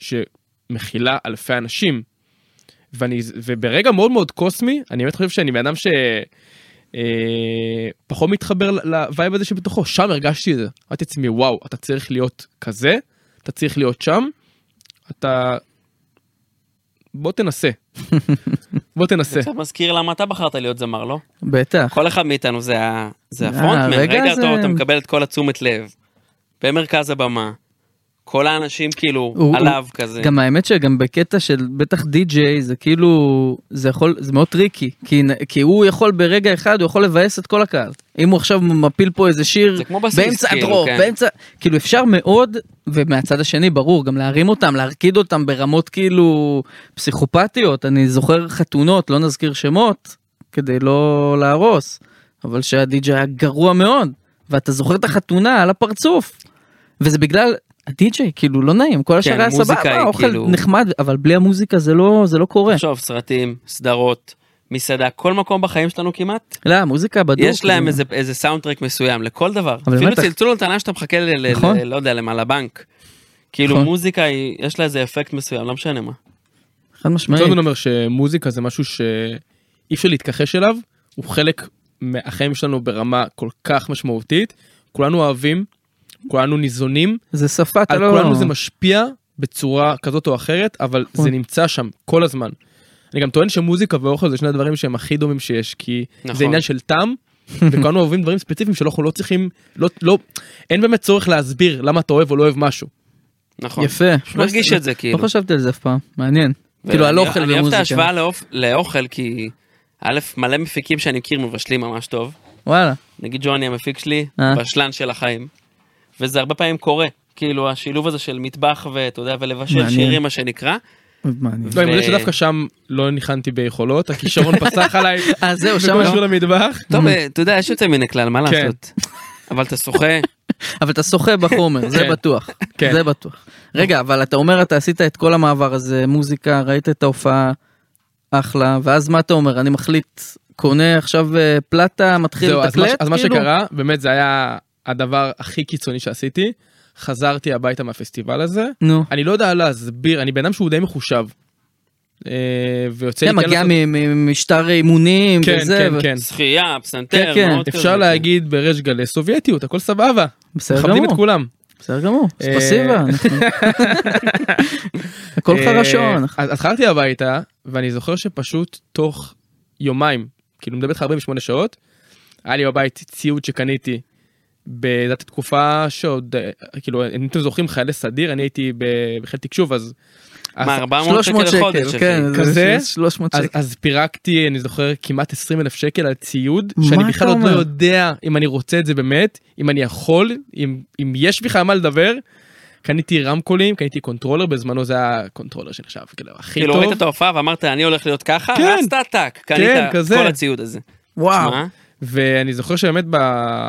Speaker 4: שמכילה אלפי אנשים. ואני, וברגע מאוד מאוד קוסמי, אני באמת חושב שאני בן אדם ש... אה, פחות מתחבר ל- לווייב הזה שבתוכו, שם הרגשתי את זה. אמרתי לעצמי, וואו, אתה צריך להיות כזה, אתה צריך להיות שם, אתה... בוא תנסה. בוא תנסה.
Speaker 3: עכשיו מזכיר למה אתה בחרת להיות זמר, לא?
Speaker 1: בטח
Speaker 3: כל אחד מאיתנו זה ה- זה
Speaker 1: אה,
Speaker 3: הפרונטמן,
Speaker 1: הרגע
Speaker 3: רגע
Speaker 1: הזה-
Speaker 3: טוב, אתה מקבל את כל התשומת לב. במרכז הבמה. כל האנשים כאילו
Speaker 1: הוא-
Speaker 3: עליו כזה.
Speaker 1: גם האמת שגם בקטע של בטח די-ג'יי זה כאילו זה יכול זה מאוד טריקי כי, נ- כי הוא יכול ברגע אחד הוא יכול לבאס את כל הקהל אם הוא עכשיו מפיל פה איזה שיר
Speaker 3: זה כמו בסיס,
Speaker 1: באמצע
Speaker 3: כאילו,
Speaker 1: הדרור
Speaker 3: כן.
Speaker 1: באמצע כאילו אפשר מאוד ומהצד השני ברור גם להרים אותם להרקיד אותם ברמות כאילו פסיכופתיות אני זוכר חתונות לא נזכיר שמות כדי לא להרוס אבל שהדי-ג'יי היה גרוע מאוד ואתה זוכר את החתונה על הפרצוף וזה בגלל. הדי-ג'יי כאילו לא נעים כל השאר
Speaker 3: כן,
Speaker 1: היה
Speaker 3: המוזיקה
Speaker 1: סבבה
Speaker 3: היא
Speaker 1: אוכל
Speaker 3: כאילו-
Speaker 1: נחמד אבל בלי המוזיקה זה לא זה לא קורה.
Speaker 3: תחשוב, סרטים, סדרות, מסעדה, כל מקום בחיים שלנו כמעט.
Speaker 1: לא המוזיקה בדוק. כאילו,
Speaker 3: יש להם
Speaker 1: זה-
Speaker 3: איזה, איזה סאונדטרק מסוים לכל דבר.
Speaker 1: אבל
Speaker 3: אפילו
Speaker 1: בטח.
Speaker 3: צלצול נתנה שאתה מחכה ל... ל-
Speaker 1: נכון.
Speaker 3: ל- לא יודע, למה, לבנק. כאילו
Speaker 1: נכון.
Speaker 3: מוזיקה, היא- יש לה איזה אפקט מסוים, לא משנה מה.
Speaker 1: חד משמעית.
Speaker 4: צודמן אומר שמוזיקה זה משהו שאי אפשר להתכחש אליו, הוא חלק מהחיים שלנו ברמה כל כך משמעותית, כולנו אוהבים, כולנו ניזונים,
Speaker 1: זה שפה אתה
Speaker 4: על
Speaker 1: לא.
Speaker 4: כולנו זה משפיע בצורה כזאת או אחרת, אבל
Speaker 1: נכון.
Speaker 4: זה נמצא שם כל הזמן. אני גם טוען שמוזיקה ואוכל זה שני הדברים שהם הכי דומים שיש, כי
Speaker 3: נכון.
Speaker 4: זה עניין של טעם, וכולנו אוהבים דברים ספציפיים שאנחנו לא צריכים, לא, לא, אין באמת צורך להסביר למה אתה אוהב או לא אוהב משהו.
Speaker 3: נכון.
Speaker 1: יפה.
Speaker 3: לא מרגיש את זה
Speaker 1: לא
Speaker 3: כאילו.
Speaker 1: חשבתי על זה אף פעם מעניין. כאילו על
Speaker 3: ואני-
Speaker 1: אוכל
Speaker 3: אני אוהב את
Speaker 1: ומוזיקה.
Speaker 3: ההשוואה לאופ- לאוכל, כי א', מלא מפיקים שאני מכיר מבשלים ממש טוב.
Speaker 1: וואלה.
Speaker 3: נגיד ג'וני המפיק שלי,
Speaker 1: אה.
Speaker 3: בשלן של החיים. וזה הרבה פעמים קורה, כאילו השילוב הזה של מטבח ואתה יודע, ולבשל
Speaker 1: מעניין.
Speaker 3: שירים מה שנקרא.
Speaker 1: מעניין.
Speaker 4: לא, אני
Speaker 3: ו-
Speaker 4: מודה שדווקא שם לא ניחנתי ביכולות, הכישרון פסח עליי.
Speaker 1: אה, זהו, שם
Speaker 4: בכל
Speaker 1: לא.
Speaker 4: שקשור למטבח.
Speaker 3: טוב, אה, אתה יודע, יש יוצא מן הכלל, מה
Speaker 4: כן.
Speaker 3: לעשות? אבל אתה שוחה,
Speaker 1: אבל אתה שוחה בחומר, זה
Speaker 4: כן.
Speaker 1: בטוח.
Speaker 4: כן.
Speaker 1: זה בטוח. רגע, אבל אתה אומר, אתה עשית את כל המעבר הזה, מוזיקה, ראית את ההופעה, אחלה, ואז מה אתה אומר? אני מחליט, קונה עכשיו אה, פלטה, מתחיל
Speaker 4: זהו,
Speaker 1: לתקלט?
Speaker 4: אז מה ש- אז מה
Speaker 1: כאילו?
Speaker 4: שקרה, באמת זה היה הדבר הכי קיצוני שעשיתי. חזרתי הביתה מהפסטיבל הזה.
Speaker 1: נו.
Speaker 4: אני לא יודע להסביר, אני בן אדם שהוא די מחושב. אה, ויוצא
Speaker 1: כן,
Speaker 4: לי כן
Speaker 1: מגיע
Speaker 4: לעשות-
Speaker 1: מ- מ- ממשטר אימונים
Speaker 4: כן,
Speaker 1: וזה,
Speaker 4: כן,
Speaker 1: ו-
Speaker 4: כן.
Speaker 3: שחייה,
Speaker 1: כן,
Speaker 3: פסנתר,
Speaker 1: כן,
Speaker 3: מאוד כזה,
Speaker 4: אפשר להגיד בריש גלי סובייטיות, הכל סבבה.
Speaker 1: בסדר
Speaker 4: מכבדים את
Speaker 1: גמור,
Speaker 4: כולם.
Speaker 1: בסדר גמור,
Speaker 4: אה,
Speaker 1: ספסיבה, אנחנו- הכל
Speaker 4: אה,
Speaker 1: חרשון. אנחנו-
Speaker 4: אז אז חזרתי הביתה, ואני זוכר שפשוט תוך יומיים, כאילו מדבר איתך 48 שעות, היה לי בבית ציוד שקניתי. בזאת התקופה שעוד, אה, כאילו, אם אתם זוכרים חיילי סדיר, אני הייתי ב- בחיל תקשוב, אז...
Speaker 3: מה,
Speaker 4: אז-
Speaker 3: 400
Speaker 1: 300
Speaker 3: שקל לחודש,
Speaker 1: שקל,
Speaker 3: אחי.
Speaker 1: כן, זה
Speaker 4: כזה?
Speaker 1: 300
Speaker 4: אז,
Speaker 1: שקל.
Speaker 4: אז פירקתי, אני זוכר, כמעט 20 אלף שקל על ציוד,
Speaker 1: מה
Speaker 4: שאני
Speaker 1: אתה
Speaker 4: בכלל עוד לא
Speaker 1: אומר?
Speaker 4: יודע אם אני רוצה את זה באמת, אם אני יכול, אם, אם יש בכלל מה לדבר. קניתי רמקולים, קניתי קונטרולר, בזמנו זה היה קונטרולר שנחשב, כאילו, הכי
Speaker 3: כאילו
Speaker 4: טוב.
Speaker 3: ראית את ההופעה ואמרת אני הולך להיות ככה,
Speaker 4: כן.
Speaker 3: רצת טאק, קנית
Speaker 4: כזה. אה.
Speaker 3: כל הציוד הזה.
Speaker 1: וואו.
Speaker 3: שמע,
Speaker 4: ואני זוכר שבאמת, ב...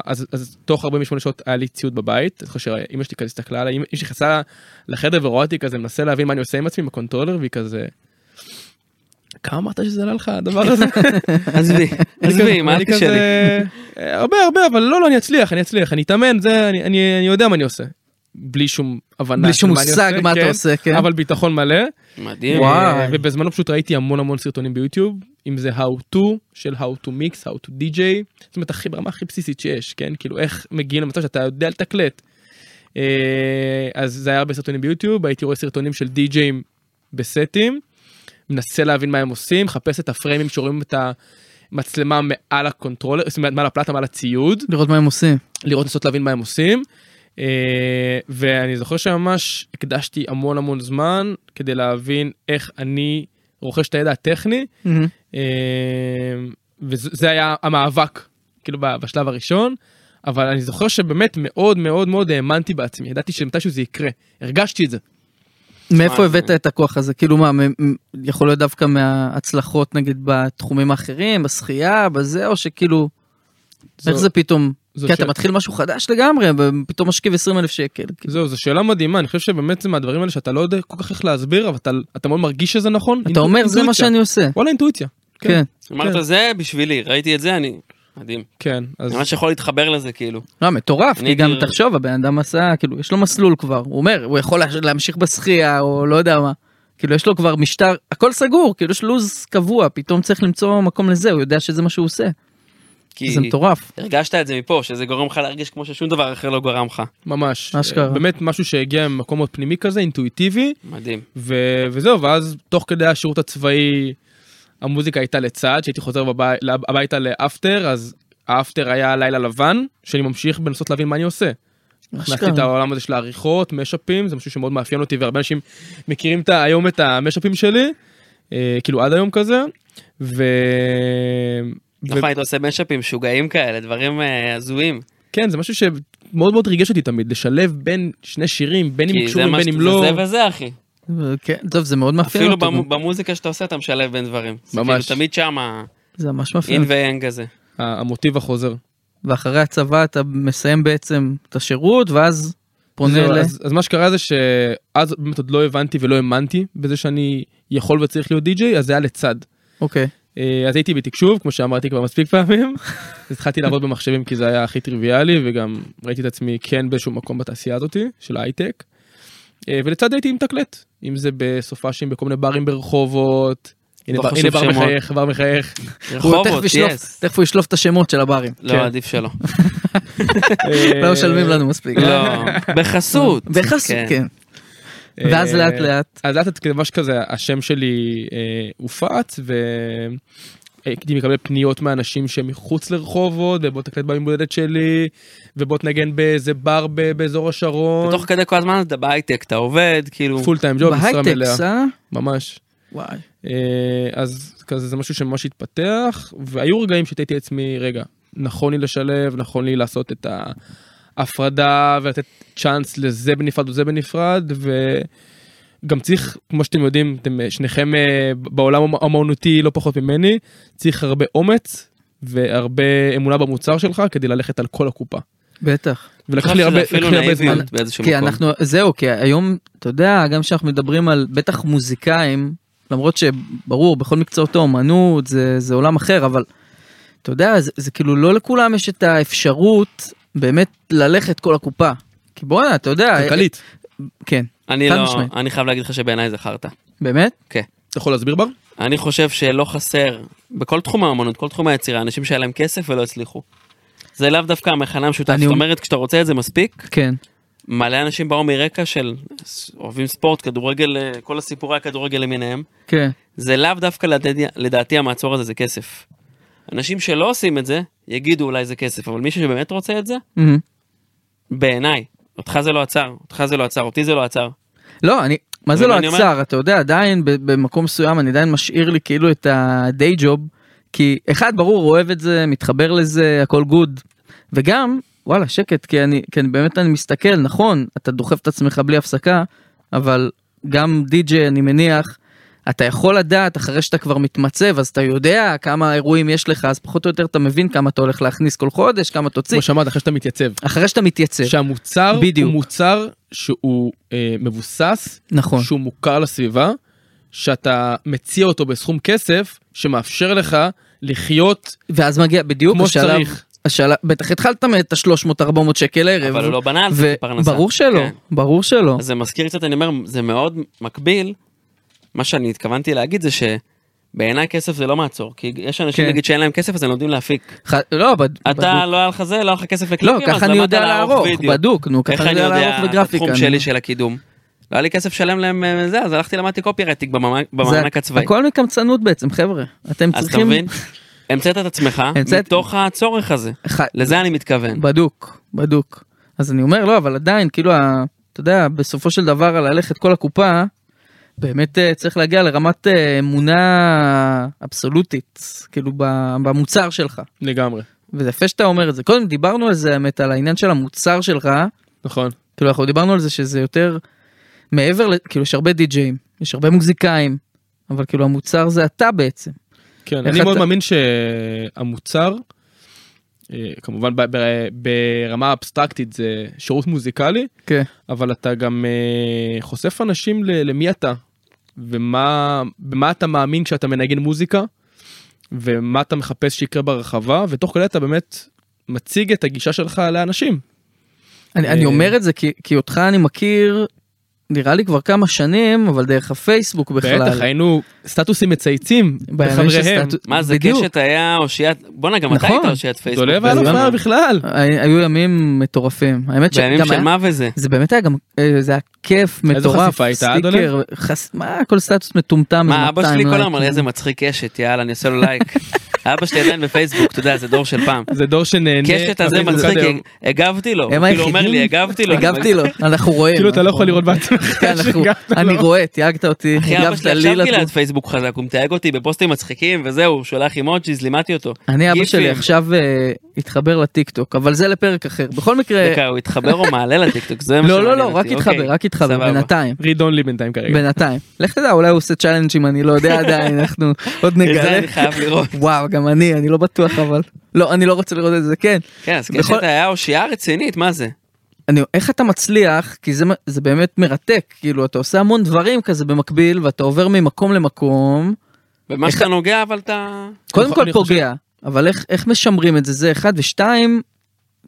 Speaker 4: אז, אז תוך 48 שעות היה לי ציוד בבית, אני זוכר שאימא שלי כזה הסתכלה עליי, אמא אמא שלי נכנסה לחדר ורואה אותי כזה, מנסה להבין מה אני עושה עם עצמי עם הקונטרולר, והיא כזה... כמה אמרת שזה עלה לך הדבר הזה?
Speaker 3: עזבי,
Speaker 4: אני
Speaker 3: עזבי,
Speaker 4: כזה-
Speaker 3: מה אל
Speaker 4: אני
Speaker 3: תשאלי.
Speaker 4: כזה, "אה, הרבה הרבה אבל לא לא אני אצליח אני אצליח אני אתאמן זה אני אני אני יודע מה אני עושה. בלי שום הבנה.
Speaker 1: בלי
Speaker 4: של
Speaker 1: שום
Speaker 4: אני
Speaker 1: מושג מה אתה
Speaker 4: כן,
Speaker 1: עושה, כן.
Speaker 4: אבל ביטחון מלא.
Speaker 3: מדהים.
Speaker 1: וואי.
Speaker 4: ובזמנו פשוט ראיתי המון המון סרטונים ביוטיוב אם זה how to של how to mix how to dj. זאת אומרת הכי ברמה הכי בסיסית שיש כן כאילו איך מגיעים למצב שאתה יודע לתקלט. אה, אז זה היה הרבה סרטונים ביוטיוב הייתי רואה סרטונים של די.ג'אים בסטים. מנסה להבין מה הם עושים מחפש את הפריימים שרואים את המצלמה מעל הקונטרולר זאת אומרת מעל הפלטה מעל הציוד
Speaker 1: לראות מה הם עושים.
Speaker 4: לראות לנסות להבין מה הם עושים. אה, ואני זוכר שממש הקדשתי המון המון זמן כדי להבין איך אני רוכש את הידע הטכני אה, וזה זה היה המאבק כאילו ב- בשלב הראשון. אבל אני זוכר שבאמת מאוד מאוד מאוד האמנתי בעצמי ידעתי שמתישהו זה יקרה הרגשתי את זה.
Speaker 1: מאיפה
Speaker 3: אה,
Speaker 1: הבאת את הכוח הזה? כאילו מה, מ- מ- יכול להיות דווקא מההצלחות נגיד בתחומים האחרים, בשחייה, בזה, או שכאילו,
Speaker 4: זו-
Speaker 1: איך זה פתאום?
Speaker 4: זו
Speaker 1: כי אתה
Speaker 4: שאלה-
Speaker 1: מתחיל משהו חדש לגמרי, ופתאום משכיב 20 אלף שקל. כאילו.
Speaker 4: זהו, זו שאלה מדהימה, אני חושב שבאמת זה מהדברים האלה שאתה לא יודע כל כך איך להסביר, אבל אתה, אתה מאוד מרגיש שזה נכון.
Speaker 1: אתה
Speaker 4: אינטו-
Speaker 1: אומר, זה מה
Speaker 4: אינטואיציה."
Speaker 1: שאני עושה.
Speaker 4: וואלה אינטואיציה.
Speaker 1: כן.
Speaker 3: אמרת זה בשבילי, ראיתי את זה, אני... מדהים.
Speaker 4: כן, אז...
Speaker 3: אני ממש יכול להתחבר לזה כאילו.
Speaker 1: לא, מטורף,
Speaker 3: אני
Speaker 1: כי גם
Speaker 3: הייתי-
Speaker 1: תחשוב, הבן אדם עשה, כאילו, יש לו מסלול כבר, הוא אומר, הוא יכול לה- להמשיך בשחייה, או לא יודע מה. כאילו, יש לו כבר משטר, הכל סגור, כאילו, יש לו"ז קבוע, פתאום צריך למצוא מקום לזה, הוא יודע שזה מה שהוא עושה.
Speaker 3: כי
Speaker 1: זה מטורף.
Speaker 3: הרגשת את זה מפה, שזה גורם לך להרגיש כמו ששום דבר אחר לא גרם לך.
Speaker 4: ממש.
Speaker 1: אשכרה.
Speaker 4: באמת משהו שהגיע ממקום מאוד פנימי כזה, אינטואיטיבי,
Speaker 3: מדהים.
Speaker 4: ו- וזהו, ואז תוך כדי השירות הצבאי, המוזיקה הייתה לצד, שהייתי חוזר בבי- לב- הביתה לאפטר, אז האפטר היה לילה לבן, שאני ממשיך בלנסות להבין מה אני עושה. הכנסתי את
Speaker 1: אשכרה.
Speaker 4: העולם הזה של העריכות, משאפים, זה משהו שמאוד מאפיין אותי, והרבה אנשים מכירים את ה- היום את המשאפים שלי, אה, כאילו עד היום כזה, ו... ו-
Speaker 3: נכון, היית עושה משאפים משוגעים כאלה, דברים אה, הזויים.
Speaker 4: כן, זה משהו שמאוד מאוד ריגש אותי תמיד, לשלב בין שני שירים, בין אם
Speaker 3: כי זה
Speaker 4: קשורים
Speaker 3: מה
Speaker 4: בין
Speaker 3: ש-
Speaker 4: אם לא.
Speaker 3: זה וזה אחי.
Speaker 1: כן, טוב, זה מאוד מאפיין
Speaker 3: אפילו
Speaker 1: אותו. גם.
Speaker 3: במו- במוזיקה שאתה עושה אתה משלב בין דברים. זה
Speaker 4: ממש.
Speaker 3: כאילו תמיד שמה,
Speaker 1: זה ממש
Speaker 3: אין
Speaker 1: מאפיין.
Speaker 3: ויאנג הזה.
Speaker 4: ה- המוטיב החוזר.
Speaker 1: ואחרי הצבא אתה מסיים בעצם את השירות, ואז פונה
Speaker 4: זהו,
Speaker 1: ל...
Speaker 4: אז, אז מה שקרה זה שאז באמת עוד לא הבנתי ולא האמנתי בזה שאני יכול וצריך להיות די-ג'יי, אז זה היה לצד.
Speaker 1: אוקיי.
Speaker 4: אה, אז הייתי בתקשוב, כמו שאמרתי כבר מספיק פעמים, אז התחלתי לעבוד במחשבים כי זה היה הכי טריוויאלי, וגם ראיתי את עצמי כן באיזשהו מקום בתעשייה הזאתי, של ההייטק. אה, ולצד הייתי עם תקלט, אם זה בסופאשים בכל מיני ברים ברחובות. הנה
Speaker 3: לא
Speaker 4: בר-
Speaker 3: חשוב
Speaker 4: הנה בר
Speaker 3: שמות.
Speaker 4: מחייך, בר מחייך.
Speaker 1: הוא תכף
Speaker 3: רחובות,
Speaker 1: ישלוף-
Speaker 3: יס.
Speaker 1: תכף הוא ישלוף את השמות של הברים.
Speaker 3: לא,
Speaker 4: כן.
Speaker 3: עדיף שלא.
Speaker 4: אה,
Speaker 1: לא משלמים לנו מספיק.
Speaker 3: לא, בחסות.
Speaker 1: בחסות, כן.
Speaker 4: אה,
Speaker 1: ואז לאט לאט.
Speaker 4: אז לאט לאט ממש כזה השם שלי אה, הופץ והייתי מקבל פניות מאנשים שמחוץ לרחובות ובוא תקלט ביום הולדת שלי ובוא תנגן באיזה בר ב- באזור השרון.
Speaker 3: תוך כדי כל הזמן אתה בהייטק, אתה עובד, כאילו...
Speaker 4: כן. פול טיים ג'וב, לא, משרה
Speaker 1: בהייטק,
Speaker 4: מלאה,
Speaker 1: אה?
Speaker 4: ממש.
Speaker 1: וואי.
Speaker 4: אה, אז כזה זה משהו שממש התפתח והיו רגעים שתהיתי עצמי רגע נכון לי לשלב נכון לי לעשות את ההפרדה ולתת צ'אנס לזה בנפרד וזה בנפרד ו... גם צריך, כמו שאתם יודעים, אתם אה, שניכם אה, בעולם האמנותי לא פחות ממני, צריך הרבה אומץ והרבה אמונה במוצר שלך כדי ללכת על כל הקופה.
Speaker 1: בטח.
Speaker 4: ולקח לי הרבה, לקח לי הרבה זמן. כן,
Speaker 3: באיזשהו
Speaker 1: כי
Speaker 3: מקום.
Speaker 1: אנחנו, זהו, כי היום, אתה יודע, גם כשאנחנו מדברים על בטח מוזיקאים, למרות שברור, בכל מקצועות האומנות זה, זה עולם אחר, אבל אתה יודע, זה, זה כאילו לא לכולם יש את האפשרות באמת ללכת כל הקופה. כי בואנה, אתה יודע,
Speaker 4: כלכלית.
Speaker 1: כן,
Speaker 3: אני
Speaker 1: חד
Speaker 3: לא,
Speaker 1: משמעית.
Speaker 3: אני חייב להגיד לך שבעיניי זה חרטא.
Speaker 1: באמת?
Speaker 4: אתה יכול להסביר בר?
Speaker 3: אני חושב שלא חסר, בכל תחום האמנות, כל תחום היצירה, אנשים שהיה להם כסף ולא הצליחו. זה לאו דווקא המכנה המשותף,
Speaker 1: אני
Speaker 3: זאת
Speaker 1: אומר-
Speaker 3: אומרת, כשאתה רוצה את זה מספיק,
Speaker 1: כן.
Speaker 3: מלא אנשים באו מרקע של אוהבים ספורט, כדורגל, אה, כל הסיפורי הכדורגל למיניהם.
Speaker 1: כן.
Speaker 3: זה לאו דווקא לדעתי, לדעתי המעצור הזה זה כסף. אנשים שלא עושים את זה, יגידו אולי זה כסף, אבל מישהו שבאמת רוצה את זה,
Speaker 1: מהמם.
Speaker 3: בעיניי, אותך זה לא עצר, אותך זה לא עצר, אותי זה לא עצר.
Speaker 1: לא, אני, מה זה
Speaker 3: אבל
Speaker 1: לא
Speaker 3: אני אומר-
Speaker 1: עצר, אתה יודע, עדיין ב- במקום מסוים אני עדיין משאיר לי כאילו את הדיי ג'וב, כי אחד, ברור, אוהב את זה, מתחבר לזה, הכל גוד, וגם, וואלה, שקט, כי אני, כי אני באמת אני מסתכל, נכון, אתה דוחף את עצמך בלי הפסקה, אבל גם די-ג'יי, אני מניח, אתה יכול לדעת אחרי שאתה כבר מתמצב, אז אתה יודע כמה אירועים יש לך, אז פחות או יותר אתה מבין כמה אתה הולך להכניס כל חודש, כמה תוציא,
Speaker 4: כמו שאמרת, אחרי שאתה מתייצב.
Speaker 1: אחרי שאתה מתייצב,
Speaker 4: שהמוצר
Speaker 1: בדיוק.
Speaker 4: הוא מוצר שהוא אה, מבוסס,
Speaker 1: נכון,
Speaker 4: שהוא מוכר לסביבה, שאתה מציע אותו בסכום כסף שמאפשר לך לחיות
Speaker 1: ואז מגיע בדיוק
Speaker 4: כמו
Speaker 1: השלב-
Speaker 4: שצריך.
Speaker 1: השאלה, בטח התחלת מאת ה-300-400 שקל לערב.
Speaker 3: אבל הוא לא בנה על זה פרנסה.
Speaker 1: וברור שלא,
Speaker 3: כן.
Speaker 1: אה, ברור שלא.
Speaker 3: אז זה מזכיר קצת, אני אומר, זה מאוד מקביל. מה שאני התכוונתי להגיד זה שבעיניי כסף זה לא מעצור, כי יש אנשים
Speaker 1: כן.
Speaker 3: נגיד שאין להם כסף אז הם לומדים להפיק.
Speaker 1: ח... לא, בד...
Speaker 3: אתה לא היה לך זה, לא היה לך כסף
Speaker 1: לא,
Speaker 3: לקליפים, אז
Speaker 1: ככה אני
Speaker 3: למדת
Speaker 1: יודע לערוך,
Speaker 3: וידאו.
Speaker 1: בדוק, נו,
Speaker 3: איך
Speaker 1: ככה אני
Speaker 3: אני
Speaker 1: יודע
Speaker 3: יודע
Speaker 1: לערוך
Speaker 3: את
Speaker 1: וגרפיקה.
Speaker 3: התחום
Speaker 1: נו.
Speaker 3: שלי של הקידום? לא היה לי כסף לשלם להם אה, זה, אז הלכתי למדתי קופי רייטינג
Speaker 1: זה
Speaker 3: במענק הצבאי.
Speaker 1: הכל מקמצנות בעצם, חבר'ה. אתם
Speaker 3: אז אתה
Speaker 1: צריכים...
Speaker 3: מבין? המצאת את עצמך
Speaker 1: המצאת-
Speaker 3: מתוך הצורך הזה.
Speaker 1: ח-
Speaker 3: לזה אני מתכוון.
Speaker 1: בדוק, בדוק. אז אני אומר, לא, אבל עדיין, כאילו, ה- אתה יודע, בסופו של דבר, על ללכת כל הקופה, באמת אה, צריך להגיע לרמת אה, אמונה אבסולוטית, כאילו, ב- במוצר שלך.
Speaker 4: לגמרי.
Speaker 1: וזה יפה שאתה אומר את זה. קודם דיברנו על זה, האמת, על העניין של המוצר שלך,
Speaker 4: נכון.
Speaker 1: כאילו אנחנו דיברנו על זה שזה יותר מעבר, ל- כאילו יש הרבה די-ג'אים, יש הרבה מוזיקאים, אבל כאילו המוצר זה אתה בעצם.
Speaker 4: כן,
Speaker 1: איך
Speaker 4: אני מאוד
Speaker 1: אתה-
Speaker 4: מאמין שהמוצר, אה, כמובן ב- ב- ברמה אבסטרקטית זה שירות מוזיקלי,
Speaker 1: כן.
Speaker 4: אבל אתה גם אה, חושף אנשים ל- למי אתה, ומה במה אתה מאמין כשאתה מנגן מוזיקה, ומה אתה מחפש שיקרה ברחבה, ותוך כדי אתה באמת מציג את הגישה שלך לאנשים.
Speaker 1: אני,
Speaker 4: אה.
Speaker 1: אני אומר את זה כי, כי אותך אני מכיר, נראה לי כבר כמה שנים, אבל דרך הפייסבוק בכלל.
Speaker 4: בטח, היינו סטטוסים מצייצים
Speaker 1: בימים
Speaker 4: בחבריהם.
Speaker 1: שסטטו-
Speaker 3: מה זה
Speaker 1: בדיוק.
Speaker 3: קשת היה אושיית, בואנה גם אתה
Speaker 1: נכון.
Speaker 3: היית אושיית פייסבוק.
Speaker 4: דולב היה לו
Speaker 3: בזמנו.
Speaker 4: פער לא בכלל.
Speaker 1: הי- היו ימים מטורפים. האמת
Speaker 3: בימים
Speaker 1: שגם
Speaker 3: של
Speaker 1: היה...
Speaker 3: מה וזה.
Speaker 1: זה באמת היה גם, אה, זה היה כיף
Speaker 4: איזה
Speaker 1: מטורף.
Speaker 4: חשיפה הייתה, אדוני?
Speaker 1: סטיקר, חס... מה, כל סטטוס מטומטם. לא
Speaker 3: מה
Speaker 1: איזה
Speaker 3: אבא
Speaker 1: 200
Speaker 3: שלי כל
Speaker 1: לייקים.
Speaker 3: הזמן, איזה מצחיק קשת, יאללה אני עושה לו לייק. אבא שלי עדיין בפייסבוק, אתה יודע, זה דור של פעם.
Speaker 4: זה דור שנהנה.
Speaker 3: קשת הזה
Speaker 4: מהפייסבוק
Speaker 3: מצחיק,
Speaker 4: עד היום.
Speaker 3: הגבתי לו, הוא
Speaker 1: הם
Speaker 3: כאילו אומר
Speaker 1: היחידים?
Speaker 3: לי, הגבתי לו.
Speaker 1: הגבתי לו, אנחנו רואים.
Speaker 4: כאילו אתה לא יכול
Speaker 1: כן, אנחנו-
Speaker 4: לראות בעצמך.
Speaker 1: כן, אנחנו-
Speaker 4: שהגבת
Speaker 1: אני
Speaker 4: לו.
Speaker 1: רואה, תייגת אותי,
Speaker 3: אחי אבא
Speaker 1: הגבת
Speaker 3: שלי
Speaker 1: לי
Speaker 3: עכשיו גילה
Speaker 1: לתגובה.
Speaker 3: את פייסבוק חזק, הוא מתייג אותי בפוסטים מצחיקים וזהו, הוא שולח אימוג'יז, לימדתי אותו.
Speaker 1: אני אבא שלי
Speaker 3: גיפים.
Speaker 1: עכשיו אה, התחבר לטיק טוק אבל זה לפרק אחר בכל מקרה
Speaker 3: דקה, הוא התחבר או מעלה לטיקטוק, זה מה
Speaker 1: אה, לא לא
Speaker 3: שמעניין
Speaker 1: לא רק
Speaker 3: אותי, אוקיי,
Speaker 1: התחבר רק התחבר
Speaker 3: סבבה.
Speaker 1: בינתיים
Speaker 4: read only בינתיים כרגע.
Speaker 1: בינתיים לך תדע אולי הוא עושה צ'אלנג'ים אני לא יודע עדיין אנחנו עוד
Speaker 3: את זה
Speaker 1: נגלה
Speaker 3: אני חייב לראות.
Speaker 1: וואו גם אני אני לא בטוח אבל לא אני לא רוצה לראות את זה כן
Speaker 3: כן, אז
Speaker 1: בכל-
Speaker 3: קשת היה אושייה רצינית, מה זה?
Speaker 1: אני איך אתה מצליח כי זה מ- זה באמת מרתק כאילו אתה עושה המון דברים כזה במקביל ואתה עובר ממקום למקום
Speaker 3: במה שאתה נוגע, אבל אתה...
Speaker 1: קודם כל
Speaker 4: אני חושב-
Speaker 1: פוגע, אבל איך, איך משמרים את זה? זה אחד ושתיים,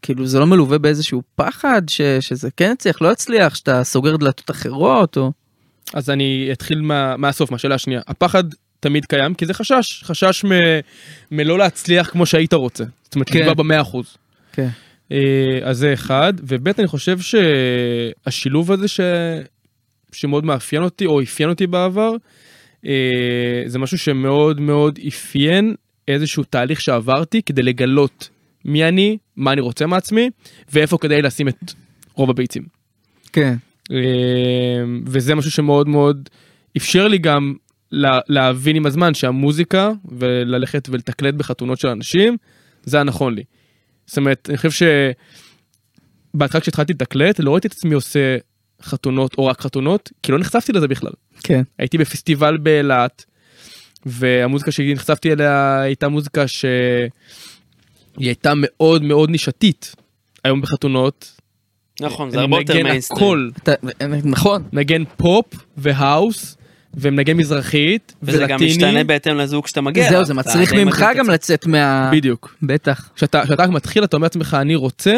Speaker 1: כאילו זה לא מלווה באיזשהו פחד ש, שזה כן יצליח, לא יצליח, שאתה סוגר דלתות אחרות או...
Speaker 4: אז אני אתחיל מה- מהסוף, מהשאלה השנייה. הפחד תמיד קיים כי זה חשש, חשש מ- מלא להצליח כמו שהיית רוצה. זאת אומרת,
Speaker 1: כן.
Speaker 4: לקבוע במאה אחוז.
Speaker 1: כן.
Speaker 4: אה, אז זה אחד, ובית אני חושב שהשילוב הזה ש... שמאוד מאפיין אותי או אפיין אותי בעבר, אה, זה משהו שמאוד מאוד אפיין איזשהו תהליך שעברתי כדי לגלות מי אני, מה אני רוצה מעצמי, ואיפה כדאי לשים את רוב הביצים.
Speaker 1: כן.
Speaker 4: אמ, וזה משהו שמאוד מאוד אפשר לי גם לה, להבין עם הזמן שהמוזיקה וללכת ולתקלט בחתונות של אנשים זה הנכון לי. זאת אומרת אני חושב שבהתחלה כשהתחלתי לתקלט לא ראיתי את עצמי עושה חתונות או רק חתונות, כי לא נחשפתי לזה בכלל.
Speaker 1: כן.
Speaker 4: הייתי בפסטיבל באילת, והמוזיקה שנחשפתי אליה הייתה מוזיקה שהיא הייתה מאוד מאוד נישתית. היום בחתונות,
Speaker 3: נכון, זה
Speaker 4: אני
Speaker 3: הרבה יותר
Speaker 4: מנגן
Speaker 3: מיינסטרים.
Speaker 4: הכל,
Speaker 1: אתה, נכון.
Speaker 4: מנגן פופ והאוס, ומנגן מזרחית,
Speaker 3: וזה גם
Speaker 4: ולטיני,
Speaker 3: משתנה בהתאם לזוג שאתה מגיע.
Speaker 1: זהו,
Speaker 3: אליו.
Speaker 1: זה
Speaker 3: אתה
Speaker 1: מצריך
Speaker 3: די
Speaker 1: ממך
Speaker 3: מתאים את
Speaker 1: גם לצאת מה...
Speaker 4: בדיוק.
Speaker 1: בטח.
Speaker 4: כשאתה כשאתה מתחיל אתה אומר לעצמך אני רוצה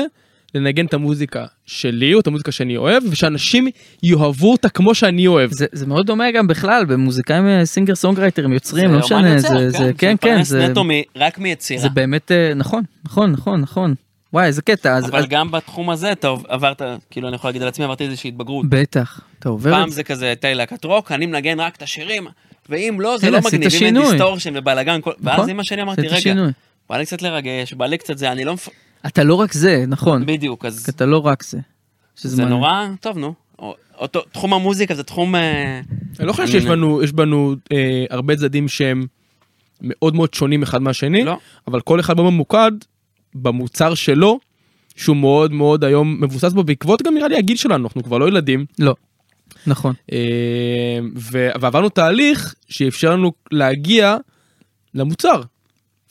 Speaker 4: לנגן את המוזיקה שלי או את המוזיקה שאני אוהב ושאנשים יאהבו אותה כמו שאני אוהב.
Speaker 1: זה, זה מאוד דומה גם בכלל במוזיקאים אה, סינגר סונגרייטרים יוצרים לא
Speaker 3: אומן
Speaker 1: משנה
Speaker 3: יוצר,
Speaker 1: זה זה כן כן
Speaker 3: מתפרנס
Speaker 1: זה
Speaker 3: נטו מ- רק מיצירה.
Speaker 1: זה באמת אה, נכון נכון נכון נכון וואי איזה קטע אז
Speaker 3: אבל
Speaker 1: אז-
Speaker 3: גם בתחום הזה אתה עברת, כאילו אני יכול להגיד על עצמי, עברתי איזושהי התבגרות.
Speaker 1: בטח אתה עובר את
Speaker 3: פעם
Speaker 1: זה
Speaker 3: זה כזה הייתה לי להקת רוק, אני מנגן רק את השירים, ואם לא זה
Speaker 1: הנה,
Speaker 3: לא
Speaker 1: עשית
Speaker 3: מגניב, אם אין
Speaker 1: שינוי.
Speaker 3: דיסטורשן ובלאגן, כל- ואז
Speaker 1: נכון?
Speaker 3: אמא שלי אמרתי,
Speaker 1: עשית
Speaker 3: רגע,
Speaker 1: שינוי.
Speaker 3: בא לי קצת לרגש, בא לי קצת זה, אני לא מפ...
Speaker 1: אתה לא רק זה נכון
Speaker 3: בדיוק, אז
Speaker 1: אתה לא רק זה. שזה
Speaker 3: זה
Speaker 1: מעניין.
Speaker 3: נורא, טוב נו. או- אותו, תחום המוזיקה זה תחום... אה,
Speaker 4: אני לא חושב
Speaker 3: אני
Speaker 4: שיש
Speaker 3: מבין.
Speaker 4: בנו יש בנו אה, הרבה צדדים שהם מאוד מאוד שונים אחד מהשני
Speaker 3: לא.
Speaker 4: אבל כל אחד מאוד ממוקד במוצר שלו שהוא מאוד מאוד היום מבוסס בו בעקבות גם נראה לי הגיל שלנו אנחנו כבר לא ילדים
Speaker 1: לא. נכון.
Speaker 4: אה, ו- ועברנו תהליך שאפשר לנו להגיע למוצר.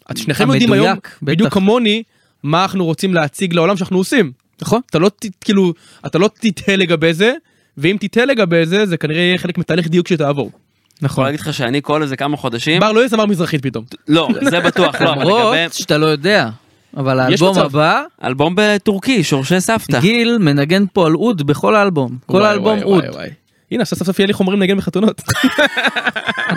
Speaker 4: אז שניכם יודעים היום
Speaker 1: המדויק, בטח.
Speaker 4: בדיוק כמוני מה אנחנו רוצים להציג לעולם שאנחנו עושים. נכון. אתה לא ת- כאילו אתה לא תתהה לגבי זה ואם תתהה לגבי זה זה כנראה יהיה חלק מתהליך דיוק שתעבור.
Speaker 3: יכול
Speaker 1: נכון.
Speaker 3: להגיד לך שאני כל איזה כמה חודשים,
Speaker 4: בר לא יהיה זמר מזרחית פתאום.
Speaker 3: לא, זה בטוח, לא, אבל
Speaker 1: למרות
Speaker 3: לגבי
Speaker 1: שאתה לא יודע אבל האלבום
Speaker 4: מצב.
Speaker 1: הבא
Speaker 3: אלבום בטורקי, שורשי סבתא.
Speaker 1: גיל מנגן פה על אוד בכל האלבום כל
Speaker 4: וואי,
Speaker 1: האלבום
Speaker 4: וואי,
Speaker 1: אוד.
Speaker 4: וואי, וואי. הנה עכשיו סוף סוף יהיה לי חומרים לנגן בחתונות.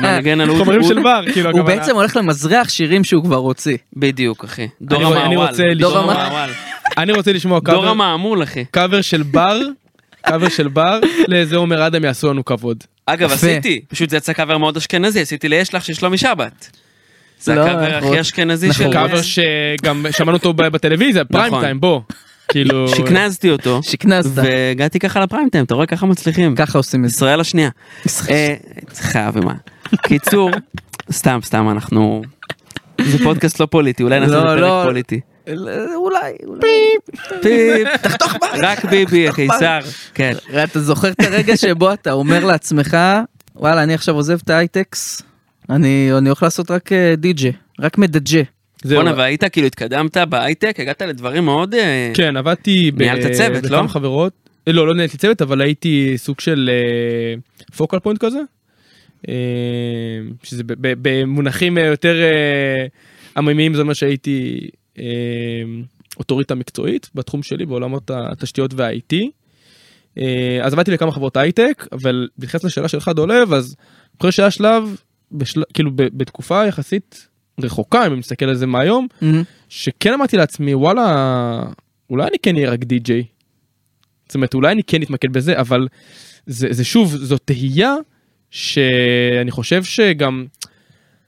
Speaker 3: מנגן על אוד-
Speaker 4: חומרים
Speaker 3: אוד-
Speaker 4: של בר כאילו.
Speaker 1: הוא
Speaker 4: הכוונה.
Speaker 1: בעצם הולך למזרח שירים שהוא כבר הוציא.
Speaker 3: בדיוק, אחי. דור
Speaker 4: אני- אני
Speaker 3: המעוול.
Speaker 4: רוצה
Speaker 1: לשמוע-
Speaker 3: דור המעוול.
Speaker 4: אני רוצה לשמוע
Speaker 3: דור
Speaker 4: קאבר-
Speaker 3: המעמול, אחי.
Speaker 4: קאבר של בר. קאבר של בר לאיזה עומר אדם יעשו לנו כבוד.
Speaker 3: אגב,
Speaker 1: יפה.
Speaker 3: עשיתי, פשוט זה יצא קאבר מאוד אשכנזי, עשיתי ליש לך של שלומי שבת. זה
Speaker 1: לא,
Speaker 3: הקאבר
Speaker 1: אנחנו-
Speaker 3: הכי אשכנזי
Speaker 1: אנחנו
Speaker 3: של...
Speaker 4: קאבר שגם שמענו אותו ב- בטלוויזיה, פריים
Speaker 3: נכון.
Speaker 4: טיים, בוא. כאילו...
Speaker 3: שכנזתי אותו,
Speaker 1: שכנסת.
Speaker 3: והגעתי ככה לפריים טיים, אתה רואה ככה מצליחים.
Speaker 1: ככה עושים את זה.
Speaker 3: ישראל השנייה. אה, חייב עם ה... קיצור, סתם, סתם, אנחנו... זה פודקאסט לא פוליטי, אולי נעשה
Speaker 1: לא,
Speaker 3: איזה
Speaker 1: לא.
Speaker 3: פרק פוליטי.
Speaker 1: אולי, אולי.
Speaker 3: פיפ, תחתוך בארץ. רק ביבי, הקיסר. כן.
Speaker 1: אתה זוכר את הרגע שבו אתה אומר לעצמך, וואלה, אני עכשיו עוזב את ההייטקס, אני, אני הולך לעשות רק אה, די-ג'יי, רק מדג'ה.
Speaker 4: זהו.
Speaker 3: בואנה, והיית כאילו התקדמת בהייטק, הגעת לדברים מאוד... אה,
Speaker 4: כן, עבדתי ב-
Speaker 3: ניהלת צוות, לא?
Speaker 4: בכמה חברות. אה, לא, לא ניהלתי צוות, אבל הייתי סוג של אה, focal point כזה. אה, שזה ב- ב- במונחים אה, יותר אה, עממיים זה מה שהייתי אה, אוטוריטה מקצועית בתחום שלי בעולמות התשתיות וה-IT. אה, אז עבדתי בכמה חברות הייטק, אבל בהתייחס לשאלה שלך דולב, אז אני חושב שהיה שלב, בשל... כאילו ב- בתקופה יחסית רחוקה, אם אני מסתכל על זה מהיום, שכן אמרתי לעצמי וואלה אולי אני כן אהיה רק די-ג'יי. זאת אומרת אולי אני כן אתמקד בזה אבל זה, זה שוב זו תהייה שאני חושב שגם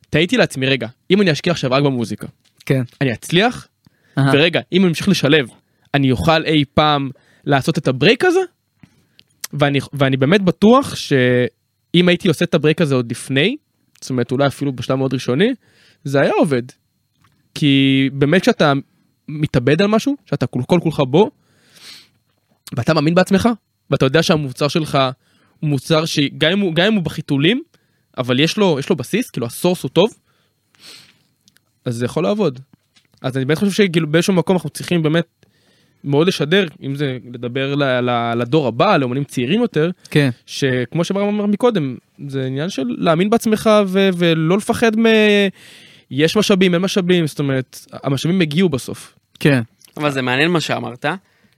Speaker 4: תהיתי לעצמי רגע אם אני אשקיע עכשיו רק במוזיקה
Speaker 1: כן.
Speaker 4: אני אצליח
Speaker 1: אהה.
Speaker 4: ורגע אם אני אמשיך לשלב אני אוכל אי פעם לעשות את הברייק הזה. ואני, ואני באמת בטוח שאם הייתי עושה את הברייק הזה עוד לפני זאת אומרת אולי אפילו בשלב מאוד ראשוני זה היה עובד. כי באמת כשאתה מתאבד על משהו שאתה כל כל כולך בו ואתה מאמין בעצמך ואתה יודע שהמוצר שלך הוא מוצר שגם אם הוא, גם אם הוא בחיתולים אבל יש לו יש לו בסיס כאילו הסורס הוא טוב. אז זה יכול לעבוד. אז אני באמת חושב שכאילו באיזשהו מקום אנחנו צריכים באמת מאוד לשדר אם זה לדבר ל, ל, לדור הבא לאמנים צעירים יותר
Speaker 1: כן.
Speaker 4: שכמו שבר אמר מקודם זה עניין של להאמין בעצמך ו- ולא לפחד מ... יש משאבים אין משאבים זאת אומרת המשאבים הגיעו בסוף.
Speaker 1: כן.
Speaker 3: אבל זה מעניין מה שאמרת,